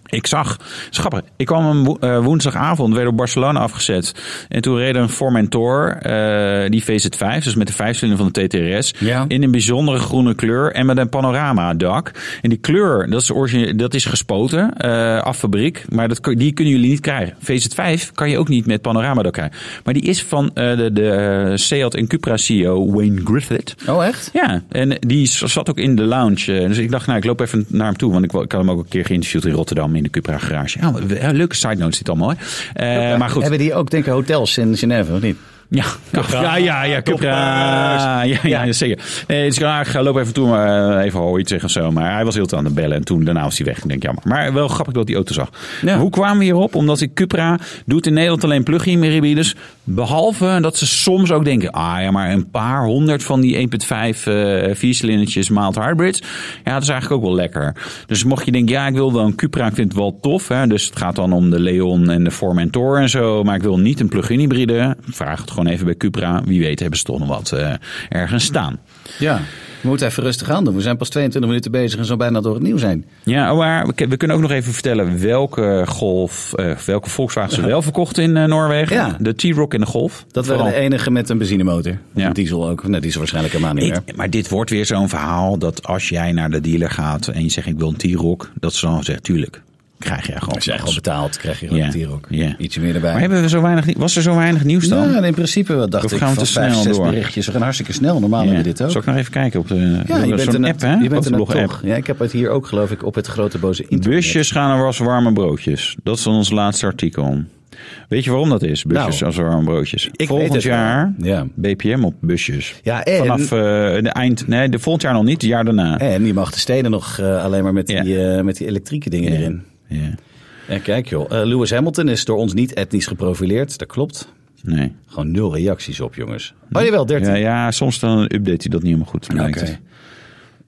Speaker 3: ik zag, schappig, ik kwam een wo- eh, woensdagavond, werd op Barcelona afgezet. En toen reed een Formentor, eh die VZ5, dus met de vijfcilinder van de TTRS,
Speaker 1: Ja.
Speaker 3: in een bijzondere groene kleur en met een panoramadak. En die kleur, dat is, origine, dat is gespoten, eh, af fabriek, maar dat, kun- die kunnen jullie niet krijgen. VZ5 kan je ook niet met panoramadak krijgen. Maar die is van eh, de, de eh, Seat en Cupra CEO Wayne Griffith.
Speaker 1: Oh, echt?
Speaker 3: Ja, en die s- zat ook in de lounge. eh, Dus ik dacht, nou, ik loop even naar hem toe. Want ik, wa- ik had hem ook een keer geïnterviewd in Rotterdam in de Cupra garage. Ja, we- eh, leuke side notes dit allemaal. hè. Eh, maar goed.
Speaker 1: Hebben die ook, denk ik, hotels in Genève, of niet?
Speaker 3: Ja, ja, ja, ja, Cupra. Ja, ja, zeker. Nee, dus ik dacht, nou, ik ga loop even toe, maar eh, even hooi zeggen of zo. Maar hij was heel te aan het bellen en toen daarna was hij weg. Ik denk, jammer. Maar eh, wel grappig dat ik die auto zag.
Speaker 1: Ja.
Speaker 3: Hoe kwamen we hierop? Omdat ik Cupra doet in Nederland alleen plug-in hybrides. Behalve dat ze soms ook denken, ah ja, maar een paar honderd van die 1.5 eh viercilindertjes mild hybrids. Ja, dat is eigenlijk ook wel lekker. Dus mocht je denken, ja, ik wil wel een Cupra, ik vind het wel tof. Hè? Dus het gaat dan om de Leon en de Formentor en zo. Maar ik wil niet een plug-in hybride. Vraag het gewoon even bij Cupra. Wie weet hebben ze toch nog wat eh, ergens staan.
Speaker 1: Ja. We moeten even rustig aan doen. We zijn pas 22 minuten bezig en zo bijna door het nieuw zijn.
Speaker 3: Ja, maar we, we kunnen ook nog even vertellen welke Golf, eh, welke Volkswagen ze wel verkocht in eh, Noorwegen.
Speaker 1: Ja.
Speaker 3: De T-Rock en de Golf.
Speaker 1: Dat waren
Speaker 3: Vooral.
Speaker 1: de enige met een benzinemotor. Of
Speaker 3: Ja.
Speaker 1: een diesel ook. Nou, Nee, diesel waarschijnlijk helemaal niet meer.
Speaker 3: Ik- maar dit wordt weer zo'n verhaal dat als jij naar de dealer gaat en je zegt ik wil een T-Rock, dat ze dan zegt tuurlijk, krijg jij gewoon.
Speaker 1: Als je
Speaker 3: van
Speaker 1: echt al
Speaker 3: ons.
Speaker 1: betaald, krijg je gewoon
Speaker 3: Ja.
Speaker 1: "Oh, een T-Rock.
Speaker 3: Ja.
Speaker 1: Ietsje meer erbij.
Speaker 3: Maar hebben we zo weinig, nie- was er zo weinig nieuws dan?
Speaker 1: Ja, in principe wat dacht
Speaker 3: Of
Speaker 1: ik
Speaker 3: gaan we
Speaker 1: van
Speaker 3: te
Speaker 1: vijf,
Speaker 3: snel
Speaker 1: zes
Speaker 3: door?
Speaker 1: berichtjes. We gaan hartstikke snel. Normaal
Speaker 3: Ja.
Speaker 1: hebben we dit ook.
Speaker 3: Zal ik nog even kijken op de
Speaker 1: ja, je bent
Speaker 3: zo'n
Speaker 1: er
Speaker 3: app, hè?
Speaker 1: net- je bent er net
Speaker 3: Autoblog app.
Speaker 1: toch. Ja, ik heb het hier ook geloof ik op het grote boze internet.
Speaker 3: Busjes gaan er als warme broodjes. Dat is dan ons laatste artikel. Weet je waarom dat is? Busjes
Speaker 1: Nou,
Speaker 3: als warme broodjes.
Speaker 1: weet
Speaker 3: Volgend
Speaker 1: het wel.
Speaker 3: jaar
Speaker 1: Ja.
Speaker 3: BPM op busjes.
Speaker 1: Ja, en-
Speaker 3: Vanaf eh, de eind. Nee, de volgend jaar nog niet. Het jaar daarna.
Speaker 1: En je mag de steden nog eh, alleen maar met,
Speaker 3: Ja.
Speaker 1: die, eh, met die elektrieke dingen erin.
Speaker 3: Ja.
Speaker 1: En kijk joh, eh, Lewis Hamilton is door ons niet etnisch geprofileerd. Dat klopt.
Speaker 3: Nee.
Speaker 1: Gewoon nul reacties op, jongens. Oh jawel, 13.
Speaker 3: Ja, ja, soms dan update hij dat niet helemaal goed. blijkt het.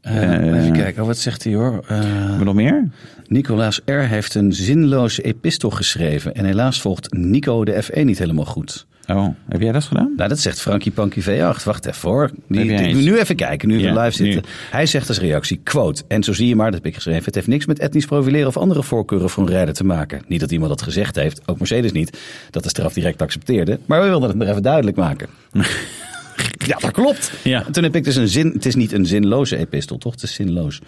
Speaker 1: Eh, even kijken, oh, wat zegt hij hoor? Eh,
Speaker 3: Hebben we nog meer?
Speaker 1: Nicolaas R. heeft een zinloze epistel geschreven. En helaas volgt Nico de F1 niet helemaal goed.
Speaker 3: Oh, heb jij dat gedaan?
Speaker 1: Nou, dat zegt Frankie Panky V8. Wacht even hoor. Die,
Speaker 3: Heb jij
Speaker 1: die-
Speaker 3: eens?
Speaker 1: nu even kijken, nu we
Speaker 3: Ja,
Speaker 1: live zitten.
Speaker 3: nu.
Speaker 1: Hij zegt als reactie, quote. En zo zie je maar, dat heb ik geschreven. Het heeft niks met etnisch profileren of andere voorkeuren voor een rijder te maken. Niet dat iemand dat gezegd heeft, ook Mercedes niet. Dat de straf direct accepteerde. Maar we wilden het maar even duidelijk maken. ja, dat klopt.
Speaker 3: Ja.
Speaker 1: En Toen heb ik dus een zin, het is niet een zinloze epistel, toch? Het is zinloos.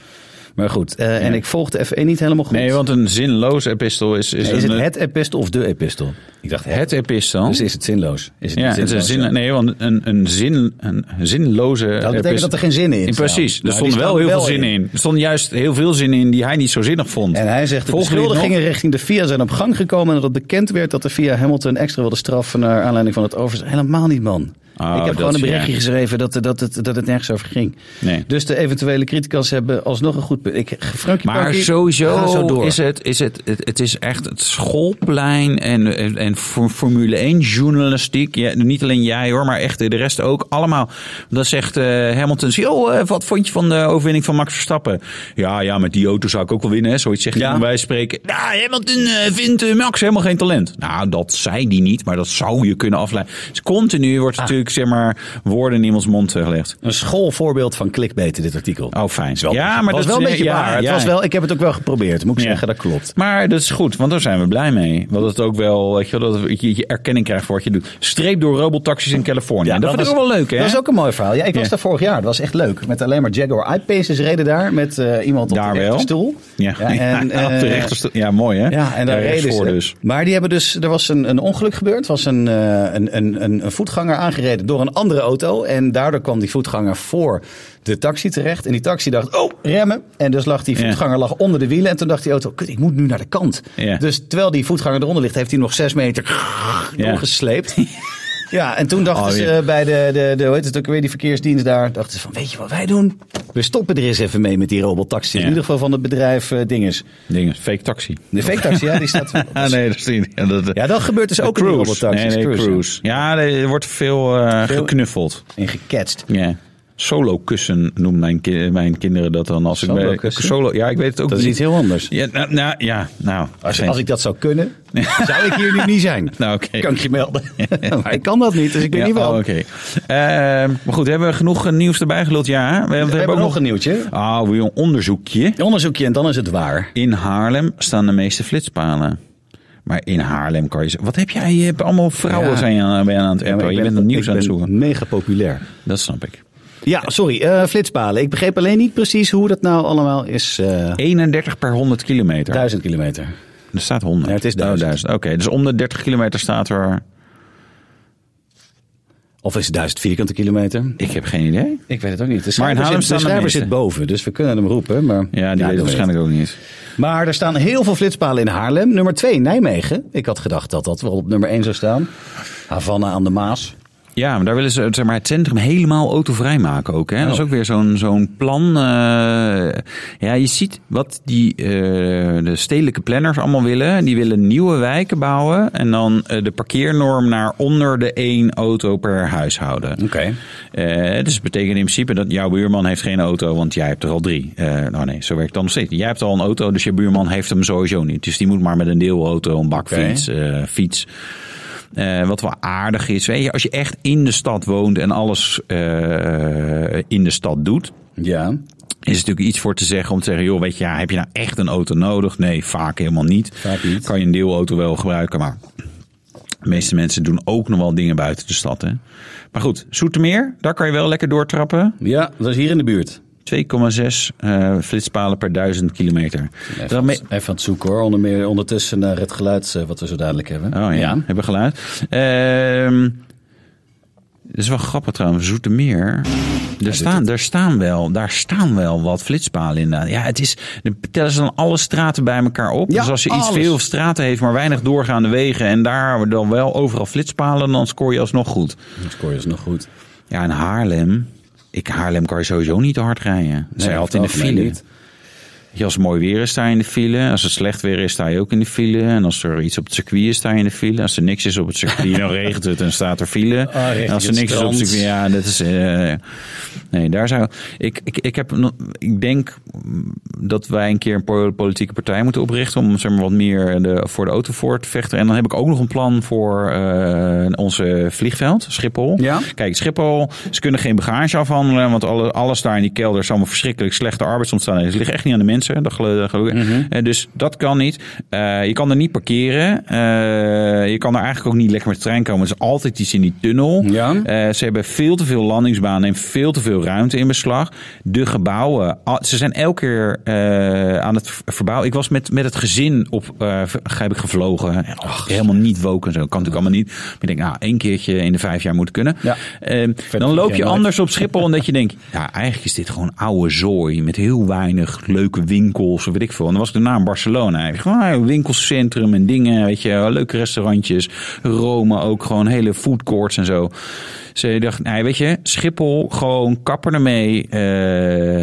Speaker 1: Maar goed, eh, en ik volg de F1 niet helemaal goed.
Speaker 3: Nee, want een zinloos epistel is... Is,
Speaker 1: is
Speaker 3: een, eh,
Speaker 1: het het epistel of de epistel? Ik dacht het.
Speaker 3: het epistel?
Speaker 1: Dus is het zinloos? Is het
Speaker 3: ja,
Speaker 1: niet
Speaker 3: het is een
Speaker 1: zinloos?
Speaker 3: zin, nee, want een, een, zin, een zinloze...
Speaker 1: dat betekent
Speaker 3: epistel-
Speaker 1: dat er geen zin in staat.
Speaker 3: Precies, er
Speaker 1: Maar die
Speaker 3: stond wel
Speaker 1: staan
Speaker 3: heel
Speaker 1: wel
Speaker 3: veel zin
Speaker 1: in.
Speaker 3: in. Er stond juist heel veel zin in die hij niet zo zinnig vond.
Speaker 1: En hij zegt, de
Speaker 3: Volgen jullie het nog?
Speaker 1: beschuldigingen richting de FIA zijn op gang gekomen... en dat het bekend werd dat de FIA Hamilton extra wilde straffen... naar aanleiding van het overzet. Helemaal niet, man.
Speaker 3: Oh,
Speaker 1: ik heb
Speaker 3: dat
Speaker 1: gewoon een
Speaker 3: is-
Speaker 1: berichtje
Speaker 3: ja.
Speaker 1: geschreven dat, dat, het, dat het nergens over ging.
Speaker 3: Nee.
Speaker 1: Dus de eventuele criticas hebben alsnog een goed punt. Ik, Frankie
Speaker 3: Maar
Speaker 1: Parkie,
Speaker 3: sowieso
Speaker 1: ga zo door.
Speaker 3: is, het, is het, het, het is echt het schoolplein en, en, en for- Formule 1 journalistiek. Ja, niet alleen jij hoor, maar echt de rest ook. Allemaal. Dan zegt eh, Hamilton, yo, eh, wat vond je van de overwinning van Max Verstappen? Ja, ja, met die auto zou ik ook wel winnen. Hè? Zoiets zegt hij.
Speaker 1: Ja.
Speaker 3: En Wij spreken, nou, Hamilton eh, vindt eh, Max helemaal geen talent. Nou, dat zei die niet, maar dat zou je kunnen afleiden. Dus continu wordt
Speaker 1: Ah.
Speaker 3: natuurlijk, zeg maar, woorden in iemands mond eh, gelegd.
Speaker 1: Een schoolvoorbeeld van clickbait, dit artikel.
Speaker 3: Oh, fijn.
Speaker 1: Is wel-
Speaker 3: Ja, maar
Speaker 1: was
Speaker 3: dat
Speaker 1: wel een
Speaker 3: is-
Speaker 1: beetje
Speaker 3: ja,
Speaker 1: waar. Het
Speaker 3: ja.
Speaker 1: was wel, ik heb het ook wel geprobeerd, moet ik
Speaker 3: Ja.
Speaker 1: zeggen, dat klopt.
Speaker 3: Maar dat is goed, want daar zijn we blij mee. Want het ook wel, weet je, wel, dat je, je erkenning krijgt voor wat je doet. Streep door robotaxis in Californië. dat, vind ik ook wel leuk, hè?
Speaker 1: Dat is ook een mooi verhaal. Ja, ik was
Speaker 3: Ja.
Speaker 1: daar vorig jaar. Dat was echt leuk. Met alleen maar Jaguar iPaces reden daar. Met eh, iemand op
Speaker 3: Daar
Speaker 1: de
Speaker 3: wel.
Speaker 1: rechterstoel.
Speaker 3: Ja,
Speaker 1: en,
Speaker 3: Ja, op de
Speaker 1: eh,
Speaker 3: rechterste- ja, mooi, hè?
Speaker 1: Ja, en daar reden ze.
Speaker 3: rechtsvoor dus.
Speaker 1: Maar die hebben dus, er was een, een ongeluk gebeurd. Er was een, eh, een, een, een, een voetganger aangereden door een andere auto. En daardoor kwam die voetganger voor de taxi terecht. En die taxi dacht, oh, remmen. En dus lag die
Speaker 3: Ja.
Speaker 1: voetganger lag onder de wielen. En toen dacht die auto, kut, ik moet nu naar de kant.
Speaker 3: Ja.
Speaker 1: Dus terwijl die voetganger eronder ligt, heeft hij nog zes meter
Speaker 3: Ja.
Speaker 1: doorgesleept. Ja, en toen dachten
Speaker 3: Oh,
Speaker 1: ze
Speaker 3: ja.
Speaker 1: eh, bij de, de, de, hoe heet het ook weer, die verkeersdienst daar, dachten ze van, weet je wat wij doen? We stoppen er eens even mee met die robotaxi. In
Speaker 3: Ja.
Speaker 1: ieder geval van het bedrijf eh, Dinges.
Speaker 3: Dingen, fake taxi.
Speaker 1: De fake taxi, ja, die staat...
Speaker 3: Ah, nee, dat is niet. Ja, dat,
Speaker 1: Ja, dat gebeurt dus ook in die
Speaker 3: cruise.
Speaker 1: robotaxis.
Speaker 3: Nee, nee,
Speaker 1: Cruise,
Speaker 3: cruise.
Speaker 1: ja.
Speaker 3: Ja, er wordt veel, eh,
Speaker 1: Veel-
Speaker 3: geknuffeld.
Speaker 1: En gecatcht.
Speaker 3: Ja. Solo kussen noemen mijn, ki- mijn kinderen dat dan. Als ik bij,
Speaker 1: Solokussen?
Speaker 3: solo, ja, ik weet het ook
Speaker 1: Dat is
Speaker 3: niet.
Speaker 1: iets heel anders.
Speaker 3: Ja, nou, nou, ja, nou.
Speaker 1: Als,
Speaker 3: geen-
Speaker 1: als ik dat zou kunnen, zou ik hier nu niet zijn.
Speaker 3: Nou, oké.
Speaker 1: Kan ik je melden. maar ik kan dat niet, dus ik weet
Speaker 3: Ja,
Speaker 1: niet waarom.
Speaker 3: oh, oké. Ehm, maar goed, hebben we genoeg eh, nieuws erbij geluld? Ja, hè? we,
Speaker 1: We hebben nog een nieuwtje.
Speaker 3: Ah, weer een Oh. onderzoekje.
Speaker 1: Een onderzoekje en dan is het waar.
Speaker 3: In Haarlem staan de meeste flitspalen. Maar in Haarlem kan je zeggen... Wat heb jij? Je hebt allemaal vrouwen
Speaker 1: Ja.
Speaker 3: zijn je aan, ben je aan het
Speaker 1: Ja,
Speaker 3: appen.
Speaker 1: maar ik
Speaker 3: je
Speaker 1: ben-
Speaker 3: bent het nieuws
Speaker 1: ik
Speaker 3: aan het
Speaker 1: ben
Speaker 3: zoeken.
Speaker 1: mega populair.
Speaker 3: Dat snap ik.
Speaker 1: Ja, sorry, eh, flitspalen. Ik begreep alleen niet precies hoe dat nou allemaal is. eh
Speaker 3: 31 per 100 kilometer.
Speaker 1: duizend kilometer.
Speaker 3: Er staat 100.
Speaker 1: Ja, het is
Speaker 3: Oh,
Speaker 1: 1000.
Speaker 3: Oké, dus om de 30 kilometer staat er...
Speaker 1: Of is het duizend vierkante kilometer?
Speaker 3: Ik heb geen idee.
Speaker 1: Ik weet het ook niet. De
Speaker 3: Maar in
Speaker 1: schrijver,
Speaker 3: Haarlem
Speaker 1: zit, de
Speaker 3: staan de
Speaker 1: schrijver
Speaker 3: meeste.
Speaker 1: zit boven, dus we kunnen hem roepen. Maar,
Speaker 3: Ja, die weet het
Speaker 1: dat
Speaker 3: waarschijnlijk ook niet.
Speaker 1: weet. Maar er staan heel veel flitspalen in Haarlem. Nummer 2, Nijmegen. Ik had gedacht dat dat wel op nummer 1 zou staan. Havana aan de Maas.
Speaker 3: Ja, maar daar willen ze zeg maar, het centrum helemaal autovrij maken ook. Hè? Dat is ook weer zo'n zo'n plan. eh, ja, je ziet wat die, eh, de stedelijke planners allemaal willen. Die willen nieuwe wijken bouwen. En dan eh, de parkeernorm naar onder de één auto per huishouden.
Speaker 1: Oké.
Speaker 3: Eh, dus dat betekent in principe dat jouw buurman heeft geen auto, want jij hebt er al drie. Eh, nou nee, zo werkt het dan nog steeds. niet. Jij hebt al een auto, dus je buurman heeft hem sowieso niet. Dus die moet maar met een deelauto, een bakfiets, eh, fiets. Eh, wat wel aardig is. Weet je, als je echt in de stad woont en alles eh, in de stad doet.
Speaker 1: Ja.
Speaker 3: Is er natuurlijk iets voor te zeggen om te zeggen: joh, weet je, ja, heb je nou echt een auto nodig? Nee, vaak helemaal niet.
Speaker 1: Vaak niet.
Speaker 3: Kan je een deelauto wel gebruiken, maar de meeste mensen doen ook nog wel dingen buiten de stad. Hè? Maar goed, Zoetermeer, daar kan je wel lekker doortrappen.
Speaker 1: Ja, dat is hier in de buurt.
Speaker 3: 2,6 eh, flitspalen per duizend kilometer.
Speaker 1: Even,
Speaker 3: Daarmee-
Speaker 1: aan het- even aan het zoeken hoor. Onder meer ondertussen naar het geluid eh, wat we zo dadelijk hebben.
Speaker 3: Oh ja, hebben we geluid. Ehm dat is wel grappig trouwens, Zoetermeer. Er staan, er staan wel, daar staan wel wat flitspalen inderdaad. Ja, het is, dan tellen ze dan alle straten bij elkaar op.
Speaker 1: Ja,
Speaker 3: dus als je iets
Speaker 1: alles.
Speaker 3: veel straten heeft, maar weinig doorgaande wegen... en daar dan wel overal flitspalen, dan scoor je alsnog goed.
Speaker 1: Dat score is nog goed.
Speaker 3: Ja, in Haarlem... Ik, Haarlem kan je sowieso niet te hard rijden. Zij
Speaker 1: Nee,
Speaker 3: altijd in de
Speaker 1: over mij
Speaker 3: file.
Speaker 1: niet.
Speaker 3: Weet je, Als het mooi weer is, sta je in de file. Als het slecht weer is, sta je ook in de file. En als er iets op het circuit is, sta je in de file. Als er niks is op het circuit, dan regent het en staat er file.
Speaker 1: Ah, richting
Speaker 3: En als er
Speaker 1: het
Speaker 3: niks is op het
Speaker 1: strand.
Speaker 3: circuit, ja, dat is... eh, nee, daar zou... Ik, ik, ik, heb, nog- ik denk mm, dat wij een keer een po- politieke partij moeten oprichten... om zeg maar, wat meer de, voor de auto voor te vechten. En dan heb ik ook nog een plan voor eh, onze vliegveld, Schiphol.
Speaker 1: Ja.
Speaker 3: Kijk, Schiphol, ze kunnen geen bagage afhandelen... want alle, alles daar in die kelder is allemaal verschrikkelijk slechte arbeidsomstandigheden. Het ligt echt niet aan de mensen. mensen. Dat gelu- gelukkig.
Speaker 1: Mhm.
Speaker 3: Eh, dus dat kan niet. Eh, je kan er niet parkeren. Eh, je kan er eigenlijk ook niet lekker met de trein komen. Er is altijd iets in die tunnel.
Speaker 1: Ja.
Speaker 3: Eh, ze hebben veel te veel landingsbanen en veel te veel ruimte in beslag. De gebouwen, ah, ze zijn elke keer eh, aan het v- verbouwen. Ik was met, met het gezin op, eh, v- heb ik gevlogen. En, oh, helemaal niet woken en zo. Kan natuurlijk allemaal niet. Maar ik denk, nou, één keertje in de vijf jaar moet kunnen.
Speaker 1: Ja.
Speaker 3: Eh, dan
Speaker 1: vind
Speaker 3: loop
Speaker 1: jij
Speaker 3: je
Speaker 1: nooit.
Speaker 3: anders op Schiphol en dat je denkt, ja, eigenlijk is dit gewoon oude zooi met heel weinig leuke winkels of weet ik veel. En dan was ik daarna in Barcelona eigenlijk. Gewoon ah, winkelcentrum en dingen, weet je, leuke restaurantjes. Rome ook, gewoon hele food courts en zo. Dus ik dacht, nee, weet je, Schiphol, gewoon kapper ermee. Eh,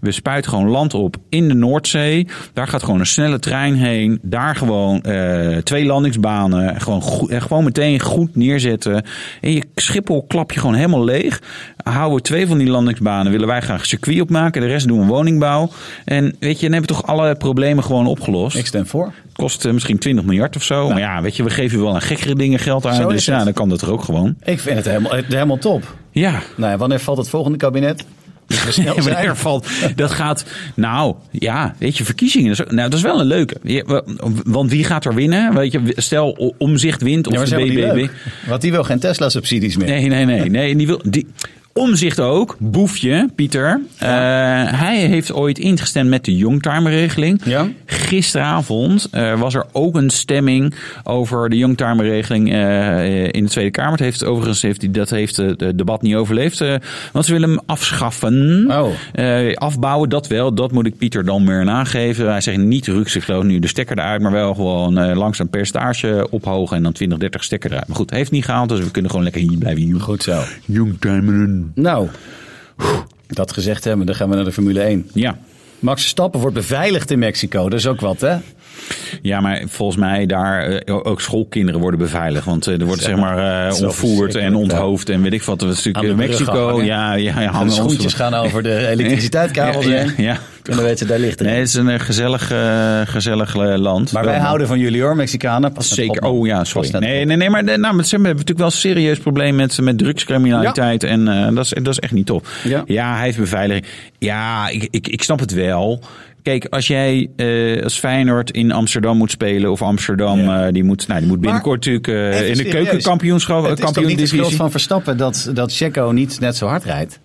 Speaker 3: we spuiten gewoon land op in de Noordzee. Daar gaat gewoon een snelle trein heen. Daar gewoon eh, twee landingsbanen. Gewoon, goed, eh, gewoon meteen goed neerzetten. En je Schiphol klap je gewoon helemaal leeg. Houden we twee van die landingsbanen. Willen wij graag een circuit opmaken. De rest doen we woningbouw. En weet je, dan hebben we toch alle problemen gewoon opgelost.
Speaker 1: Ik stem voor.
Speaker 3: Het kost eh, misschien 20 miljard of zo. Maar ja, weet je, we geven wel aan gekkere dingen geld
Speaker 1: Zo
Speaker 3: uit.
Speaker 1: is
Speaker 3: Dus ja,
Speaker 1: het.
Speaker 3: dan kan dat er ook gewoon.
Speaker 1: Ik vind het helemaal, het- helemaal top.
Speaker 3: Ja,
Speaker 1: Nou ja, wanneer valt het volgende kabinet? Dus we snel
Speaker 3: Ja, maar
Speaker 1: zijn.
Speaker 3: er valt. Dat gaat. Nou, ja, weet je, verkiezingen. dat is- Nou, dat is wel een leuke. Je- wa- Want wie gaat er winnen? Weet je, stel omzicht wint of
Speaker 1: Ja, maar
Speaker 3: de
Speaker 1: ze hebben die
Speaker 3: BBB.
Speaker 1: leuk. Want die wil geen Tesla-subsidies meer.
Speaker 3: Nee, nee, nee. nee die wil, die, omzicht ook. Boefje, Pieter. Eh, hij heeft ooit ingestemd met de Youngtimer-regeling.
Speaker 1: Ja.
Speaker 3: Gisteravond eh, was er ook een stemming over de Youngtimer-regeling eh, eh, in de Tweede Kamer. Het heeft, overigens heeft die, dat heeft eh, het debat niet overleefd. eh, want ze willen hem afschaffen.
Speaker 1: Oh.
Speaker 3: Eh, afbouwen, dat wel. Dat moet ik Pieter dan meer nageven. Hij zegt niet rukzichtloos nu de stekker eruit, maar wel gewoon eh, langzaam percentage ophogen en dan 20, 30 stekker eruit. Maar goed, heeft niet gehaald, dus we kunnen gewoon lekker hier blijven. Jong-
Speaker 1: Goed zo.
Speaker 3: Jongtimeren.
Speaker 1: Nou, dat gezegd hebben, dan gaan we naar de Formule 1.
Speaker 3: Ja.
Speaker 1: Max Verstappen wordt beveiligd in Mexico. Dat is ook wat, hè?
Speaker 3: ja, maar volgens mij daar eh, ook schoolkinderen worden beveiligd. Want eh, er wordt zeg maar
Speaker 1: dat
Speaker 3: eh
Speaker 1: is wel
Speaker 3: ontvoerd en
Speaker 1: verschrikkelijk, ja.
Speaker 3: onthoofd en weet ik wat. Dat is
Speaker 1: Aan de
Speaker 3: natuurlijk eh,
Speaker 1: brug
Speaker 3: Mexico.
Speaker 1: hangen.
Speaker 3: Ja, ja, ja.
Speaker 1: de
Speaker 3: hangen
Speaker 1: schoentjes
Speaker 3: ons-
Speaker 1: gaan over de elektriciteitskabels
Speaker 3: Ja, ja,
Speaker 1: heen.
Speaker 3: ja.
Speaker 1: En dan weten ze, daar ligt het.
Speaker 3: Nee, het is een eh, gezellig, eh, gezellig eh, land.
Speaker 1: maar
Speaker 3: Wel,
Speaker 1: wij
Speaker 3: man.
Speaker 1: houden van jullie hoor, Mexicanen. Pas net
Speaker 3: Zeker.
Speaker 1: op, man.
Speaker 3: Oh ja,
Speaker 1: Pas
Speaker 3: sorry.
Speaker 1: net
Speaker 3: Nee,
Speaker 1: op.
Speaker 3: nee, nee, maar de- nou, met, ze hebben natuurlijk wel een serieus probleem met, met drugscriminaliteit. En eh, dat, is, dat is echt niet top.
Speaker 1: Ja.
Speaker 3: hij heeft beveiliging. Ja, ik, ik, ik snap het wel. Kijk, als jij eh, als Feyenoord in Amsterdam moet spelen, of Amsterdam,
Speaker 1: Ja.
Speaker 3: eh, die, moet, nou, die moet binnenkort natuurlijk eh,
Speaker 1: Even
Speaker 3: in de
Speaker 1: serieus.
Speaker 3: keukenkampioenschap.
Speaker 1: Het is toch
Speaker 3: kampioen
Speaker 1: niet de schuld
Speaker 3: divisie.
Speaker 1: van Verstappen dat, dat Checo niet net zo hard rijdt?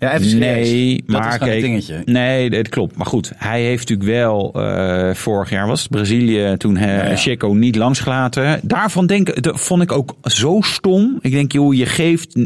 Speaker 1: Ja, even serieus.
Speaker 3: Nee,
Speaker 1: dat
Speaker 3: maar
Speaker 1: is gewoon
Speaker 3: kijk,
Speaker 1: een dingetje.
Speaker 3: nee, dat klopt. Maar goed, hij heeft natuurlijk wel eh, vorig jaar was het Brazilië toen eh,
Speaker 1: Ja, ja.
Speaker 3: Checo niet langsgelaten. Daarvan denk, ik- dat vond ik ook zo stom. Ik denk, joh, je geeft,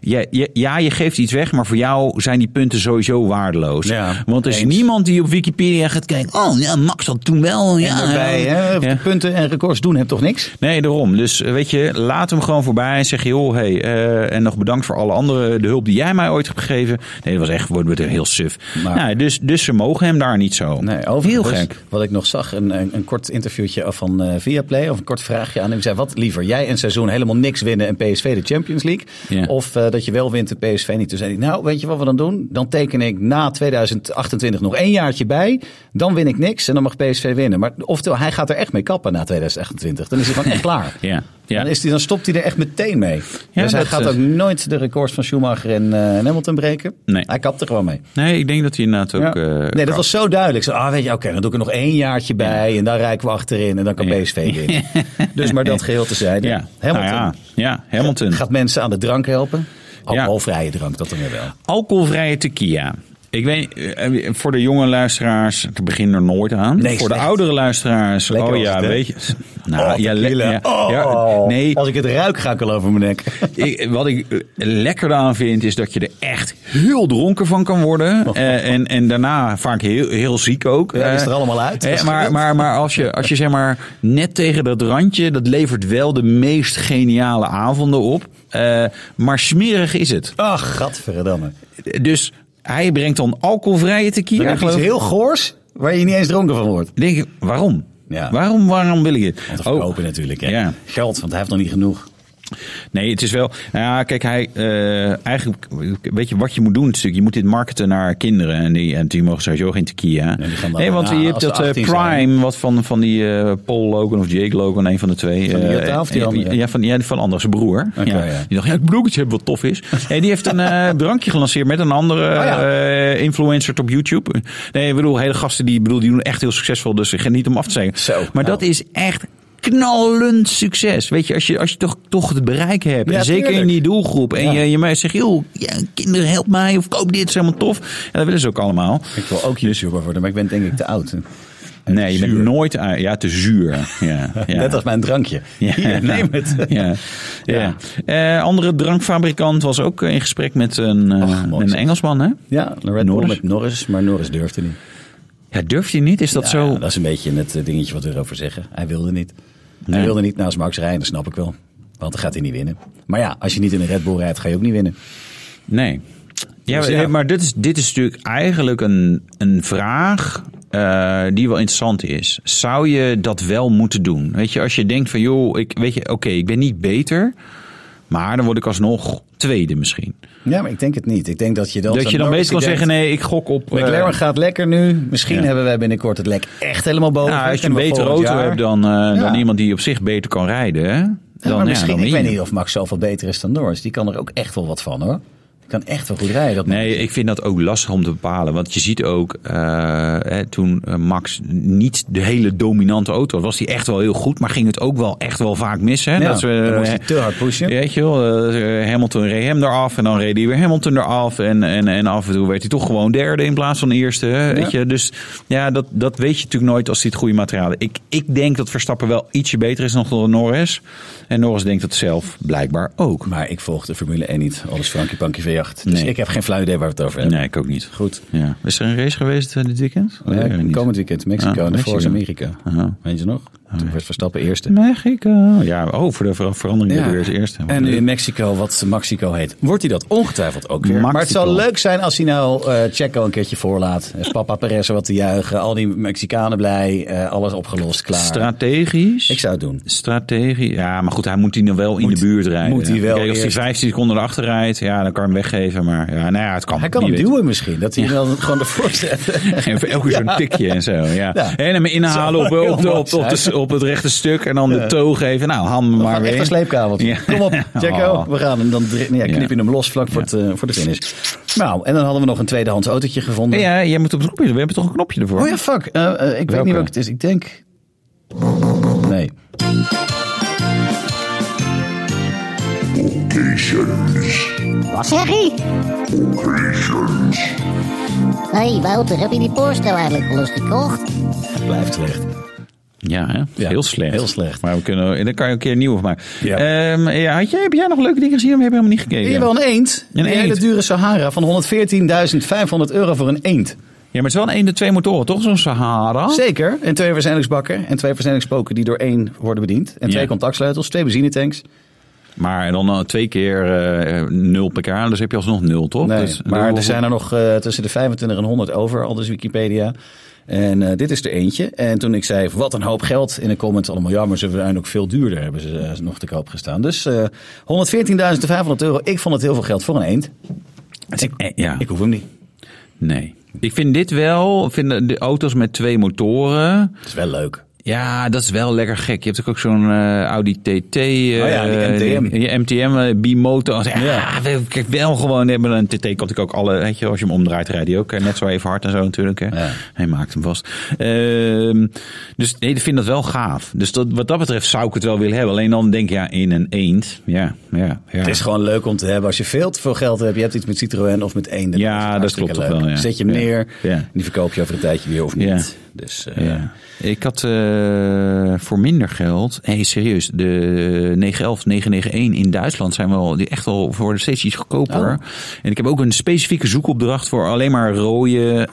Speaker 3: ja, ja, ja, je geeft iets weg, maar voor jou zijn die punten sowieso waardeloos.
Speaker 1: Ja,
Speaker 3: Want er is
Speaker 1: eens.
Speaker 3: niemand die op Wikipedia gaat kijken. Oh, ja, Max had toen wel. Ja,
Speaker 1: En daarbij, hè,
Speaker 3: ja.
Speaker 1: punten en records doen hem toch niks?
Speaker 3: Nee, daarom. Dus eh, weet je, laat hem gewoon voorbij en zeg joh, hey, eh, en nog bedankt voor alle andere de hulp die jij mij ooit hebt gegeven. Nee, dat was echt, wordt het heel suf.
Speaker 1: Maar-
Speaker 3: Nou, dus, dus ze mogen hem daar niet zo. Dus-
Speaker 1: Nee, oh,
Speaker 3: heel
Speaker 1: overigens,
Speaker 3: gek.
Speaker 1: wat ik nog zag, een, een, een kort interviewtje af van eh Viaplay, of een kort vraagje aan hem. Ik zei, wat liever, jij een seizoen helemaal niks winnen en PSV de Champions League?
Speaker 3: Ja.
Speaker 1: Of eh, dat je wel wint en PSV niet? Toen zei hij, nou, weet je wat we dan doen? Dan teken ik na 2028 nog één jaartje bij, dan win ik niks en dan mag PSV winnen. Maar oftewel, hij gaat er echt mee kappen na 2028. Dan is hij gewoon echt klaar.
Speaker 3: Ja, ja.
Speaker 1: Dan, is hij, dan stopt hij er echt meteen mee.
Speaker 3: Ja,
Speaker 1: dus hij
Speaker 3: dat,
Speaker 1: gaat
Speaker 3: eh,
Speaker 1: ook nooit de records van Schumacher en, eh, en Hamilton breken.
Speaker 3: Nee.
Speaker 1: Hij kapt er gewoon mee.
Speaker 3: Nee, ik denk dat hij inderdaad ook.
Speaker 1: Ja.
Speaker 3: eh,
Speaker 1: nee,
Speaker 3: kan.
Speaker 1: dat was zo duidelijk. Zo, ah, weet je, oké, dan doe ik er nog één jaartje bij en dan rijken we achterin en dan kan PSV winnen. dus maar dat geheel te zijn.
Speaker 3: Ja,
Speaker 1: Hamilton
Speaker 3: Nou ja, ja, Hamilton.
Speaker 1: gaat mensen aan de drank helpen. Alcoholvrije drank, dat dan weer wel.
Speaker 3: Alcoholvrije tequila. Ik weet, eh, voor de jonge luisteraars, ik begin er nooit aan.
Speaker 1: Nee,
Speaker 3: voor de
Speaker 1: slecht.
Speaker 3: oudere luisteraars,
Speaker 1: Lekker
Speaker 3: oh
Speaker 1: was
Speaker 3: ja,
Speaker 1: het, hè?
Speaker 3: weet je. Nou,
Speaker 1: Oh,
Speaker 3: ja, le-
Speaker 1: tequila.
Speaker 3: ja,
Speaker 1: Oh,
Speaker 3: ja, nee,
Speaker 1: Als ik het ruik, ga ik al over mijn nek.
Speaker 3: Ik- wat ik eh, lekker aan vind, is dat je er echt heel dronken van kan worden. Eh, en, en daarna vaak heel, heel ziek ook.
Speaker 1: Ja, dat is
Speaker 3: Eh,
Speaker 1: er allemaal uit.
Speaker 3: eh,
Speaker 1: Dat is
Speaker 3: maar
Speaker 1: goed.
Speaker 3: maar, maar als, je, als je zeg maar net tegen dat randje, dat levert wel de meest geniale avonden op. Eh, maar smerig is het.
Speaker 1: Ach, gadverdamme.
Speaker 3: Dus hij brengt dan alcoholvrije
Speaker 1: Dan
Speaker 3: tequila.
Speaker 1: heb je iets
Speaker 3: geloof ik.
Speaker 1: heel goors waar je niet eens dronken van wordt.
Speaker 3: denk ik, waarom?
Speaker 1: Ja.
Speaker 3: Waarom, waarom wil ik dit?
Speaker 1: Want
Speaker 3: Oh,
Speaker 1: verkopen natuurlijk, hè.
Speaker 3: Ja.
Speaker 1: Geld, want hij heeft nog niet genoeg.
Speaker 3: Nee, het is wel. Nou ja, kijk, hij, eh, eigenlijk, weet je wat je moet doen? Natuurlijk, je moet dit marketen naar kinderen. En die, en die mogen sowieso geen tequila.
Speaker 1: Nee, die gaan dan-
Speaker 3: Nee, want
Speaker 1: ja,
Speaker 3: je hebt
Speaker 1: als ze
Speaker 3: dat eh,
Speaker 1: 18
Speaker 3: Prime,
Speaker 1: zijn.
Speaker 3: wat van, van die eh, Paul Logan of Jake Logan, een van de twee.
Speaker 1: Van die
Speaker 3: eh,
Speaker 1: Jutta of die
Speaker 3: eh,
Speaker 1: andere?
Speaker 3: Ja, van, ja, van Anders, zijn broer.
Speaker 1: Oké,
Speaker 3: ja.
Speaker 1: ja.
Speaker 3: Die dacht, ja, ik broeketje hebben wat tof is. Hey, die heeft een eh, drankje gelanceerd met een andere
Speaker 1: Oh, ja.
Speaker 3: eh, influencer op YouTube. Nee, ik bedoel, hele gasten die, ik bedoel, die doen echt heel succesvol. Dus ik ga niet om af te zeggen.
Speaker 1: Zo,
Speaker 3: maar
Speaker 1: nou.
Speaker 3: dat is echt knallend succes. Weet je, als je, als je toch, toch het bereik hebt.
Speaker 1: Ja,
Speaker 3: en zeker
Speaker 1: tuurlijk.
Speaker 3: in die doelgroep. En
Speaker 1: Ja.
Speaker 3: je, je mij zegt, joh, ja, kinderen, help mij. Of koop dit, is helemaal tof. En dat willen ze ook allemaal.
Speaker 1: Ik wil ook YouTuber worden, maar ik ben denk ik te oud.
Speaker 3: Nee, je bent
Speaker 1: Zuur.
Speaker 3: nooit... a- Ja, te zuur. Ja, ja.
Speaker 1: Net als mijn drankje.
Speaker 3: Ja, Nou.
Speaker 1: Hier, neem het.
Speaker 3: Ja. ja. Eh, andere drankfabrikant was ook in gesprek met een, eh,
Speaker 1: Och, mooi
Speaker 3: een
Speaker 1: zeg.
Speaker 3: Engelsman, hè?
Speaker 1: Ja, Red Bull
Speaker 3: Norris.
Speaker 1: met Norris, maar Norris durfde niet. Nou
Speaker 3: Ja, durft hij niet? Is dat
Speaker 1: Ja,
Speaker 3: zo?
Speaker 1: Dat is een beetje het eh, dingetje wat we erover zeggen. Hij wilde niet. Hij
Speaker 3: Nee.
Speaker 1: wilde niet naast Max rijden, dat snap ik wel. Want dan gaat hij niet winnen. Maar ja, als je niet in een Red Bull rijdt, ga je ook niet winnen.
Speaker 3: Nee. Ja,
Speaker 1: Dus
Speaker 3: maar-
Speaker 1: ja.
Speaker 3: maar dit is, dit is natuurlijk eigenlijk een, een vraag eh, die wel interessant is. Zou je dat wel moeten doen? Weet je, als je denkt van joh, ik, weet je, oké, ik ben niet beter, maar dan word ik alsnog tweede misschien.
Speaker 1: Ja, maar ik denk het niet. Ik denk dat je dan...
Speaker 3: Dat, je dan
Speaker 1: Norris
Speaker 3: meestal kan
Speaker 1: die
Speaker 3: zeggen,
Speaker 1: denkt,
Speaker 3: nee, ik gok op... eh,
Speaker 1: McLaren gaat lekker nu. Misschien
Speaker 3: Ja.
Speaker 1: hebben wij binnenkort het lek echt helemaal boven.
Speaker 3: nou, als je een
Speaker 1: Kunnen we
Speaker 3: betere
Speaker 1: volgend
Speaker 3: auto
Speaker 1: jaar-
Speaker 3: hebt dan, eh, dan
Speaker 1: Ja.
Speaker 3: iemand die op zich beter kan rijden, hè, dan,
Speaker 1: Ja, maar
Speaker 3: ja,
Speaker 1: misschien,
Speaker 3: dan
Speaker 1: ik
Speaker 3: win
Speaker 1: weet
Speaker 3: je.
Speaker 1: niet of Max zoveel beter is dan Norris. Die kan er ook echt wel wat van hoor. Die kan echt wel goed rijden. Dat nou
Speaker 3: Nee, ik vind dat ook lastig om te bepalen. Want je ziet ook, eh, hè, toen eh, Max niet de hele dominante auto was, was hij echt wel heel goed. Maar ging het ook wel echt wel vaak mis. Hè?
Speaker 1: Ja,
Speaker 3: dat we, eh,
Speaker 1: dan moest hij te hard pushen.
Speaker 3: Weet je wel, eh, Hamilton reed hem eraf en dan reed hij weer Hamilton eraf. En, en, en af en toe werd hij toch gewoon derde in plaats van eerste. hè, Weet je? Dus ja, dat, dat weet je natuurlijk nooit als hij het goede materiaal heeft. Ik, ik denk dat Verstappen wel ietsje beter is dan Norris. En Norris denkt dat zelf blijkbaar ook.
Speaker 1: Maar ik volg de Formule 1 niet. Alles Frankie Pankie V8. Dus
Speaker 3: Nee.
Speaker 1: ik heb geen flauw idee waar we het over hebben.
Speaker 3: Nee, ik ook niet.
Speaker 1: Goed.
Speaker 3: Ja. Is er een race geweest eh, dit weekend?
Speaker 1: Ja,
Speaker 3: Nee, ik weet niet.
Speaker 1: komend weekend Mexico Ah,
Speaker 3: Ah,
Speaker 1: en de Forza
Speaker 3: Mexico.
Speaker 1: Amerika.
Speaker 3: Aha.
Speaker 1: Weet je nog? Toen werd Verstappen eerste.
Speaker 3: Mexico. Ja, oh, voor de ver- verandering
Speaker 1: Ja.
Speaker 3: weer als eerste.
Speaker 1: En in Mexico, wat Mexico heet, wordt hij dat ongetwijfeld ook weer. Maar het
Speaker 3: Mexico.
Speaker 1: zou leuk zijn als hij nou eh, Checo een keertje voorlaat. Eh, Papa Perez wat te juichen. Al die Mexicanen blij. eh, alles opgelost, klaar.
Speaker 3: strategisch.
Speaker 1: ik zou het doen.
Speaker 3: Strategisch. Ja, maar goed, hij moet die nog wel in
Speaker 1: Moet-
Speaker 3: de buurt rijden.
Speaker 1: moet hij wel
Speaker 3: Kijk, als hij
Speaker 1: eerst-
Speaker 3: 15 seconden erachter rijdt, ja, dan kan hij hem weggeven. Maar ja, nou ja, het kan.
Speaker 1: Hij kan
Speaker 3: Wie
Speaker 1: hem
Speaker 3: weet.
Speaker 1: duwen misschien. Dat hij hem dan gewoon ervoor zet.
Speaker 3: Even elke keer zo'n tikje en zo. Ja.
Speaker 1: Ja.
Speaker 3: En hem inhalen
Speaker 1: Zou
Speaker 3: op,
Speaker 1: heel
Speaker 3: op, de-
Speaker 1: mooi
Speaker 3: op, op, de-
Speaker 1: zijn.
Speaker 3: op het rechte stuk en dan de toog geven. Nou, ham hem maar
Speaker 1: Maar
Speaker 3: weer.
Speaker 1: echt
Speaker 3: in.
Speaker 1: een sleepkabeltje.
Speaker 3: Ja.
Speaker 1: Kom op, Jacco.
Speaker 3: Oh.
Speaker 1: We gaan hem dan dri- nee, ja, knip je hem los vlak voor, het, eh, voor de finish. Nou, en dan hadden we nog een tweedehands autootje gevonden.
Speaker 3: Ja, jij moet op het knopje. We hebben toch een knopje ervoor?
Speaker 1: Oh ja, fuck. Eh, eh, ik weet
Speaker 3: Welke?
Speaker 1: niet welke het is. Ik denk... Nee.
Speaker 5: Wat zeg je? Hé, hey, Wouter, heb je die Porsche nou eigenlijk wel eens gekocht?
Speaker 1: Het blijft slecht.
Speaker 3: Ja, hè?
Speaker 1: Ja,
Speaker 3: heel slecht.
Speaker 1: heel slecht.
Speaker 3: Maar we kunnen, dan kan je een keer nieuw of maar.
Speaker 1: Ja.
Speaker 3: Ehm, ja, had jij, heb jij nog leuke dingen gezien? Of heb je helemaal niet gekeken?
Speaker 1: Hier wel een eend.
Speaker 3: Een
Speaker 1: Een hele
Speaker 3: eend.
Speaker 1: dure Sahara van 114.500 euro voor een eend.
Speaker 3: Ja, maar het is wel een ene twee motoren, toch? Zo'n Sahara.
Speaker 1: Zeker. En twee verzendelingsbakken en twee verzendelingspoken die door één worden bediend. En twee
Speaker 3: Ja.
Speaker 1: contactsleutels, twee benzinetanks.
Speaker 3: Maar dan eh, twee keer eh, nul pk, dus heb je alsnog nul, toch?
Speaker 1: Nee,
Speaker 3: Dus-
Speaker 1: maar er zijn er nog eh, tussen de 25 en 100 over, al dus Wikipedia. En eh, dit is er eentje. En toen ik zei, wat een hoop geld in de comments allemaal. Ja, maar ze zijn ook veel duurder, hebben ze eh, nog te koop gestaan. Dus eh 114.500 euro. Ik vond het heel veel geld voor een eend.
Speaker 3: Het is- eh, ja.
Speaker 1: Ik hoef hem niet.
Speaker 3: Nee. Ik vind dit wel, ik vind de- de auto's met twee motoren.
Speaker 1: Het is wel leuk.
Speaker 3: Ja, dat is wel lekker gek. Je hebt ook, ook zo'n eh, Audi TT. eh,
Speaker 1: Oh ja, die MTM.
Speaker 3: die- die MTM, eh, B-motor. Als- Ja,
Speaker 1: Ja.
Speaker 3: we- kijk, wel gewoon hebben een TT. Kan ik ook alle, weet je, als je hem omdraait, rijdt hij ook eh, net zo even hard en zo natuurlijk. Hè.
Speaker 1: Ja.
Speaker 3: Hij maakt hem vast. Ehm, dus nee, ik vind dat wel gaaf. Dus dat, wat dat betreft zou ik het wel willen hebben. Alleen dan denk je, ja, in een eend. Ja, ja, ja.
Speaker 1: Het is gewoon leuk om te hebben als je veel te veel geld hebt. Je hebt iets met Citroën of met eenden.
Speaker 3: Ja,
Speaker 1: is
Speaker 3: dat
Speaker 1: hartstikke
Speaker 3: klopt toch wel, ja.
Speaker 1: Zet je hem
Speaker 3: Ja.
Speaker 1: neer.
Speaker 3: Ja.
Speaker 1: en Die verkoop je over een tijdje weer of niet.
Speaker 3: Ja.
Speaker 1: Dus eh,
Speaker 3: Ja. Ik had eh, voor minder geld. hey, serieus, de 911, 991 in Duitsland zijn wel die echt wel voor steeds iets goedkoper.
Speaker 1: Oh.
Speaker 3: En ik heb ook een specifieke zoekopdracht voor alleen maar rode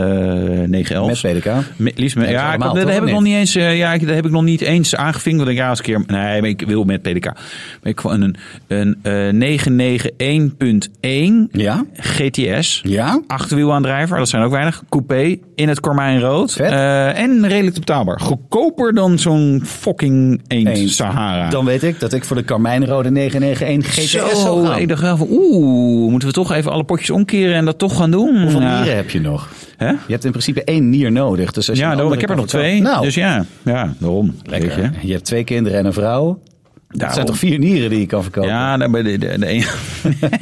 Speaker 3: eh 911.
Speaker 1: met PDK.
Speaker 3: Met- liefst met,
Speaker 1: Ja,
Speaker 3: ja, ik-
Speaker 1: allemaal,
Speaker 3: dat
Speaker 1: toch,
Speaker 3: heb
Speaker 1: of
Speaker 3: ik nog
Speaker 1: niet?
Speaker 3: niet eens. eh, ja, ik- dat heb ik nog niet eens aangevinkt. Want ik ja, als een keer. Nee, maar ik wil met PDK. Maar ik kwam een, een eh 991.1
Speaker 1: Ja?
Speaker 3: GTS.
Speaker 1: Ja?
Speaker 3: Achterwielaandrijver, dat zijn ook weinig. Coupé in het kormijn rood.
Speaker 1: Vet.
Speaker 3: Eh, en redelijk betaalbaar. Goedkoper dan zo'n fucking eend
Speaker 1: Eén.
Speaker 3: Sahara.
Speaker 1: Dan weet ik dat ik voor de Carmijnrode 991 GTS zou
Speaker 3: zo,
Speaker 1: gaan.
Speaker 3: ik dacht wel van, oeh, moeten we toch even alle potjes omkeren en dat toch gaan doen?
Speaker 1: Hoeveel
Speaker 3: Ja.
Speaker 1: nieren heb je nog?
Speaker 3: Hè?
Speaker 1: Je hebt in principe één nier nodig. Dus als je
Speaker 3: Ja,
Speaker 1: een
Speaker 3: daarom,
Speaker 1: andere
Speaker 3: ik heb
Speaker 1: kan
Speaker 3: er nog twee.
Speaker 1: verkopen- Nou,
Speaker 3: Dus ja, ja daarom. Weet je.
Speaker 1: lekker. Je hebt twee kinderen en een vrouw. Dat zijn
Speaker 3: Daarom.
Speaker 1: toch vier nieren die je kan verkopen?
Speaker 3: Ja, nou, bij de, de, de een-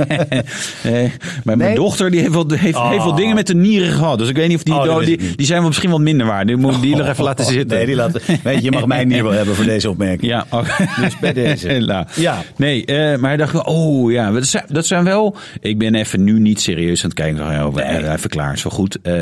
Speaker 3: nee, maar mijn
Speaker 1: Nee?
Speaker 3: dochter die heeft, wel, heeft, heeft wel dingen met de nieren gehad. Dus ik weet niet of die,
Speaker 1: Oh, dat
Speaker 3: do-
Speaker 1: weet
Speaker 3: die,
Speaker 1: ik niet.
Speaker 3: die zijn wel misschien wat minder waard. Die moet die nog even laten
Speaker 1: Oh,
Speaker 3: zitten.
Speaker 1: Nee, die laten, weet je, je mag mijn nier wel hebben voor deze opmerking.
Speaker 3: Ja, dus
Speaker 1: bij deze. Ja.
Speaker 3: Nee, eh, maar hij dacht, wel, oh ja, dat zijn, dat zijn wel. Ik ben even nu niet serieus aan het kijken. Van, oh, eh, Even klaar, is wel goed. Eh,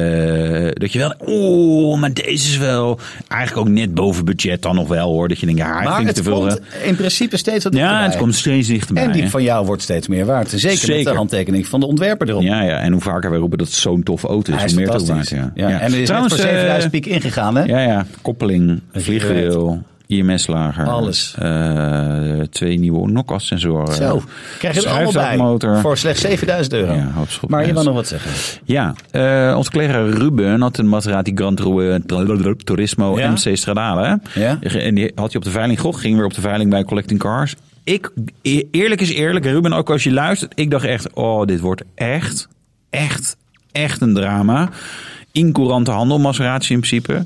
Speaker 3: dat je wel, oh, maar deze is wel. Eigenlijk ook net boven budget dan nog wel hoor. Dat je denkt, ja, ik
Speaker 1: Maar
Speaker 3: vind
Speaker 1: het
Speaker 3: te veel.
Speaker 1: komt
Speaker 3: hè.
Speaker 1: in principe steeds wat
Speaker 3: Ja,
Speaker 1: dichterbij.
Speaker 3: het komt steeds dichterbij.
Speaker 1: En die
Speaker 3: hè.
Speaker 1: van jou wordt steeds meer waard. Zeker, met de
Speaker 3: Zeker.
Speaker 1: handtekening van de ontwerper erop.
Speaker 3: Ja, ja, en hoe vaker wij roepen dat het zo'n toffe auto is,
Speaker 1: Hij is
Speaker 3: hoe meer het ook waard.
Speaker 1: fantastisch.
Speaker 3: Ja.
Speaker 1: Ja, En er is
Speaker 3: Trouwens,
Speaker 1: net voor
Speaker 3: eh,
Speaker 1: 7000 piek ingegaan, hè?
Speaker 3: Ja, ja, koppeling, vliegwiel, IMS-lager.
Speaker 1: Alles.
Speaker 3: eh, twee nieuwe Nokkas-sensoren.
Speaker 1: Zo, krijg je er allemaal bij.
Speaker 3: Motor.
Speaker 1: Voor slechts 7000 euro.
Speaker 3: eh, Ja, hoopschop.
Speaker 1: maar je
Speaker 3: Ja,
Speaker 1: wil
Speaker 3: is-
Speaker 1: nog wat zeggen.
Speaker 3: Ja, eh, onze collega Ruben had een Maserati Gran Tour- Tour- Turismo
Speaker 1: Ja?
Speaker 3: MC Stradale.
Speaker 1: Ja?
Speaker 3: En die had je op de veiling gekocht, ging weer op de veiling bij Collecting Cars. Ik, e- eerlijk is eerlijk, Ruben, ook als je luistert, ik dacht echt, oh, dit wordt echt, echt, echt een drama. In courante handel, Maserati in principe.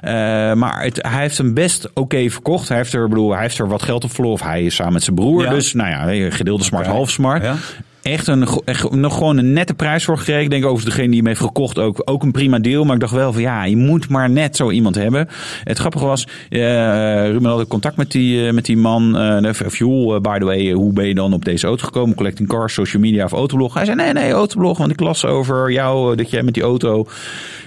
Speaker 3: Eh, maar het, hij heeft hem best oké verkocht. Hij heeft, er, ik bedoel, hij heeft er wat geld op verloren. Of hij is samen met zijn broer.
Speaker 1: Ja.
Speaker 3: Dus nou ja, gedeelde smart, half smart.
Speaker 1: Ja.
Speaker 3: Echt, een, go- echt nog gewoon een nette prijs voor gekregen. Ik denk over degene die hem heeft gekocht ook, ook een prima deal. Maar ik dacht wel van ja, je moet maar net zo iemand hebben. Het grappige was, eh Ruben had ook contact met die, eh, met die man. eh fuel, eh, by the way, eh, hoe ben je dan op deze auto gekomen? Collecting cars, social media of autoblog? Hij zei nee, nee, autoblog. Want ik las over jou, eh, dat jij met die auto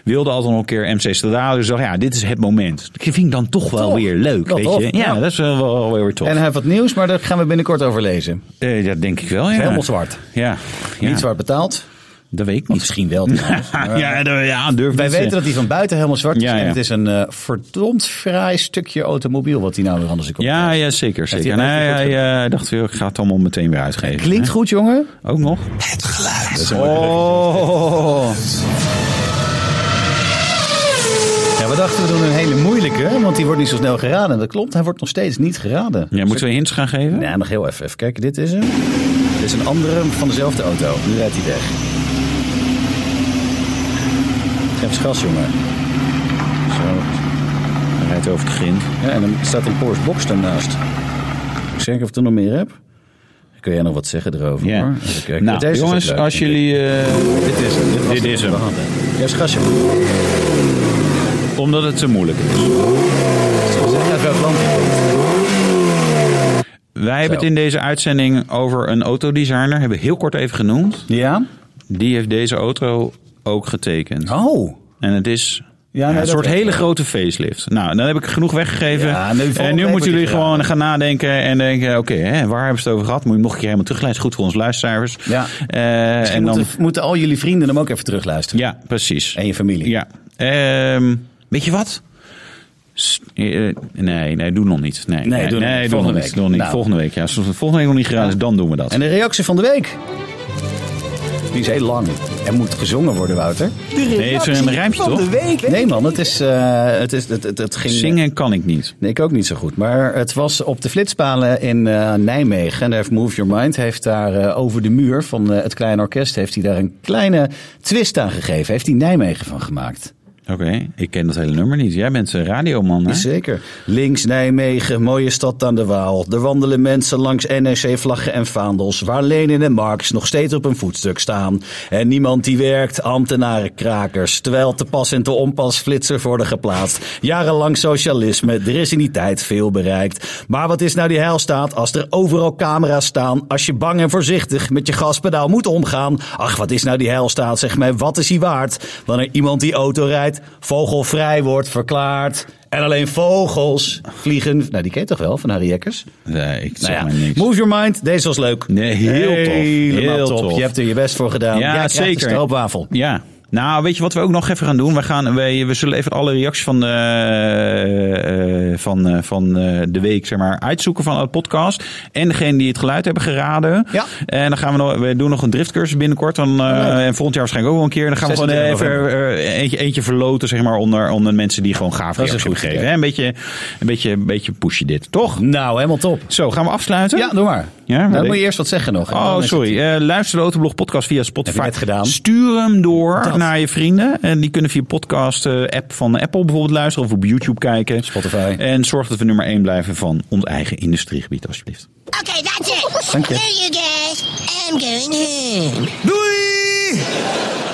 Speaker 3: wilde altijd nog een keer MC Stradale. Dus ik dacht ja, dit is het moment. Dat vind ik dan toch wel
Speaker 1: Toch?
Speaker 3: weer leuk,
Speaker 1: Wel
Speaker 3: weet
Speaker 1: tof,
Speaker 3: je. Ja,
Speaker 1: ja.
Speaker 3: dat is wel, wel weer tof.
Speaker 1: En hij heeft wat nieuws, maar daar gaan we binnenkort over lezen.
Speaker 3: Eh, ja, denk ik wel, ja.
Speaker 1: Helemaal zwart.
Speaker 3: Ja, ja.
Speaker 1: Niet zwart Ah, betaald.
Speaker 3: dat weet ik niet. Eh,
Speaker 1: Misschien wel. trouwens. Maar
Speaker 3: ja, d- ja, durf
Speaker 1: Wij
Speaker 3: niet te-
Speaker 1: weten dat hij van buiten helemaal zwart is.
Speaker 3: Ja,
Speaker 1: En
Speaker 3: ja.
Speaker 1: het is een eh, verdomd fraai stukje automobiel wat hij nou weer anders komt.
Speaker 3: Ja, ja, zeker.
Speaker 1: hij-
Speaker 3: zeker.
Speaker 1: heeft
Speaker 3: Nee,
Speaker 1: hij goed
Speaker 3: hij eh, dacht, weer, ik ga het allemaal meteen weer uitgeven.
Speaker 1: Klinkt goed, jongen.
Speaker 3: Hè? Ook nog.
Speaker 4: Het geluid.
Speaker 1: Oh. Ja, we dachten we doen een hele moeilijke, want die wordt niet zo snel geraden. Dat klopt, hij wordt nog steeds niet geraden.
Speaker 3: Ja, moeten we hints gaan geven?
Speaker 1: Nou, nog heel even. Even kijken, dit is hem. Dit is een andere van dezelfde auto. Nu rijdt hij weg. Geef eens gas, jongen. Zo.
Speaker 3: Hij rijdt over het grind.
Speaker 1: Ja, en dan staat een Porsche Box daarnaast. Ik zeg of ik er nog meer heb. Kun jij nog wat zeggen erover?
Speaker 3: Ja.
Speaker 1: hoor? Even kijken.
Speaker 3: Nou,
Speaker 1: Deze is ook
Speaker 3: jongens,
Speaker 1: leuk,
Speaker 3: als
Speaker 1: denk ik.
Speaker 3: jullie... eh,
Speaker 1: Dit is hem. was
Speaker 3: Dit is hem.
Speaker 1: Geef eens gas, jongen.
Speaker 3: omdat het zo moeilijk is.
Speaker 1: Uit welk land je komt.
Speaker 3: Wij hebben het in deze uitzending over een autodesigner. Hebben we heel kort even genoemd.
Speaker 1: Ja?
Speaker 3: Die heeft deze auto ook getekend.
Speaker 1: Oh.
Speaker 3: En het is...
Speaker 1: Ja,
Speaker 3: Ja,
Speaker 1: nee,
Speaker 3: een
Speaker 1: dat
Speaker 3: soort
Speaker 1: weet
Speaker 3: hele
Speaker 1: ik.
Speaker 3: grote facelift. Nou, dan heb ik genoeg weggegeven.
Speaker 1: Ja, nu volgende
Speaker 3: en
Speaker 1: week
Speaker 3: nu
Speaker 1: moet
Speaker 3: moeten
Speaker 1: ik
Speaker 3: jullie
Speaker 1: graag.
Speaker 3: gewoon gaan nadenken en denken... oké, hè, waar hebben ze het over gehad? Moet je hem nog een keer helemaal teruglezen. Goed voor ons luisteraars.
Speaker 1: Ja.
Speaker 3: Eh,
Speaker 1: Misschien
Speaker 3: en dan,
Speaker 1: moeten, moeten al jullie vrienden hem ook even terugluisteren.
Speaker 3: ja, precies.
Speaker 1: En je familie.
Speaker 3: Ja. Ehm, weet je wat? S- eh, Nee, nee, doe nog niet. Nee, nee,
Speaker 1: doe nog niet.
Speaker 3: doe
Speaker 1: Volgende
Speaker 3: nog
Speaker 1: week.
Speaker 3: niet. Nog niet.
Speaker 1: Nou.
Speaker 3: Volgende week. Ja, als het volgende week nog niet gedaan is, dan doen we dat.
Speaker 1: En de reactie van de week. Die is heel lang en moet gezongen worden, Wouter.
Speaker 3: nee, het is een rijmpje toch?
Speaker 1: Nee man, het, is, eh, het, is, het, het, het ging...
Speaker 3: Zingen kan ik niet.
Speaker 1: Nee, ik ook niet zo goed. Maar het was op de flitspalen in eh, Nijmegen. En daar heeft Move Your Mind heeft daar eh, over de muur van eh, het kleine orkest... heeft hij daar een kleine twist aan gegeven. Heeft hij Nijmegen van gemaakt.
Speaker 3: Oké, ik ken dat hele nummer niet. Jij bent een radioman, hè?
Speaker 1: Zeker. Links Nijmegen, mooie stad aan de Waal. Er wandelen mensen langs NEC-vlaggen en vaandels... waar Lenin en Marx nog steeds op een voetstuk staan. En niemand die werkt, ambtenaren krakers... terwijl te pas en te onpas flitsers worden geplaatst. Jarenlang socialisme, er is in die tijd veel bereikt. Maar wat is nou die heilstaat als er overal camera's staan... als je bang en voorzichtig met je gaspedaal moet omgaan? Ach, wat is nou die heilstaat, zeg mij, wat is die waard? Wanneer iemand die auto rijdt, vogelvrij wordt verklaard... En alleen vogels vliegen. Nou, die ken je toch wel van Harry Jekkers?
Speaker 3: Nee, ik zeg
Speaker 1: Nou
Speaker 3: maar
Speaker 1: ja,
Speaker 3: niks.
Speaker 1: Move Your Mind, deze was leuk.
Speaker 3: Nee, heel tof.
Speaker 1: Helemaal
Speaker 3: Heel
Speaker 1: top.
Speaker 3: tof.
Speaker 1: Je hebt er je best voor gedaan. Nou, Jij
Speaker 3: Ja,
Speaker 1: krijgt
Speaker 3: zeker.
Speaker 1: Een stroopwafel.
Speaker 3: Ja. Nou, weet je wat we ook nog even gaan doen? We, gaan, we, we zullen even alle reacties van, de, eh, van, eh, van eh, de week zeg maar, uitzoeken van de podcast. En degene die het geluid hebben geraden.
Speaker 1: Ja. Oh,
Speaker 3: En dan gaan we, nog, we doen nog een driftcursus binnenkort. Dan, eh, en volgend jaar waarschijnlijk ook wel een keer. Dan gaan we gewoon
Speaker 1: 26
Speaker 3: even eh, eentje, eentje verloten zeg maar, onder, onder mensen die gewoon gaaf
Speaker 1: Dat is
Speaker 3: reacties
Speaker 1: een goed
Speaker 3: hebben gegeven. hè? Een beetje, een beetje, een beetje pushen dit, toch?
Speaker 1: Nou, helemaal top.
Speaker 3: Zo, gaan we afsluiten?
Speaker 1: Ja, doe maar.
Speaker 3: Ja,
Speaker 1: Nou,
Speaker 3: maar
Speaker 1: dan
Speaker 3: ik-
Speaker 1: moet je eerst wat zeggen nog.
Speaker 3: Oh,
Speaker 1: Dan is
Speaker 3: sorry. Eh, luister de Autoblog podcast via Spotify.
Speaker 1: Heb je net gedaan?
Speaker 3: Stuur hem door
Speaker 1: Dat.
Speaker 3: naar je vrienden. En die kunnen via podcast eh, app van Apple bijvoorbeeld luisteren. Of op YouTube kijken.
Speaker 1: Spotify.
Speaker 3: En zorg dat we nummer 1 blijven van ons eigen industriegebied, alsjeblieft.
Speaker 5: Okay, that's it.
Speaker 1: Thank you.
Speaker 5: Hey, you guys. I'm going home.
Speaker 4: Doei!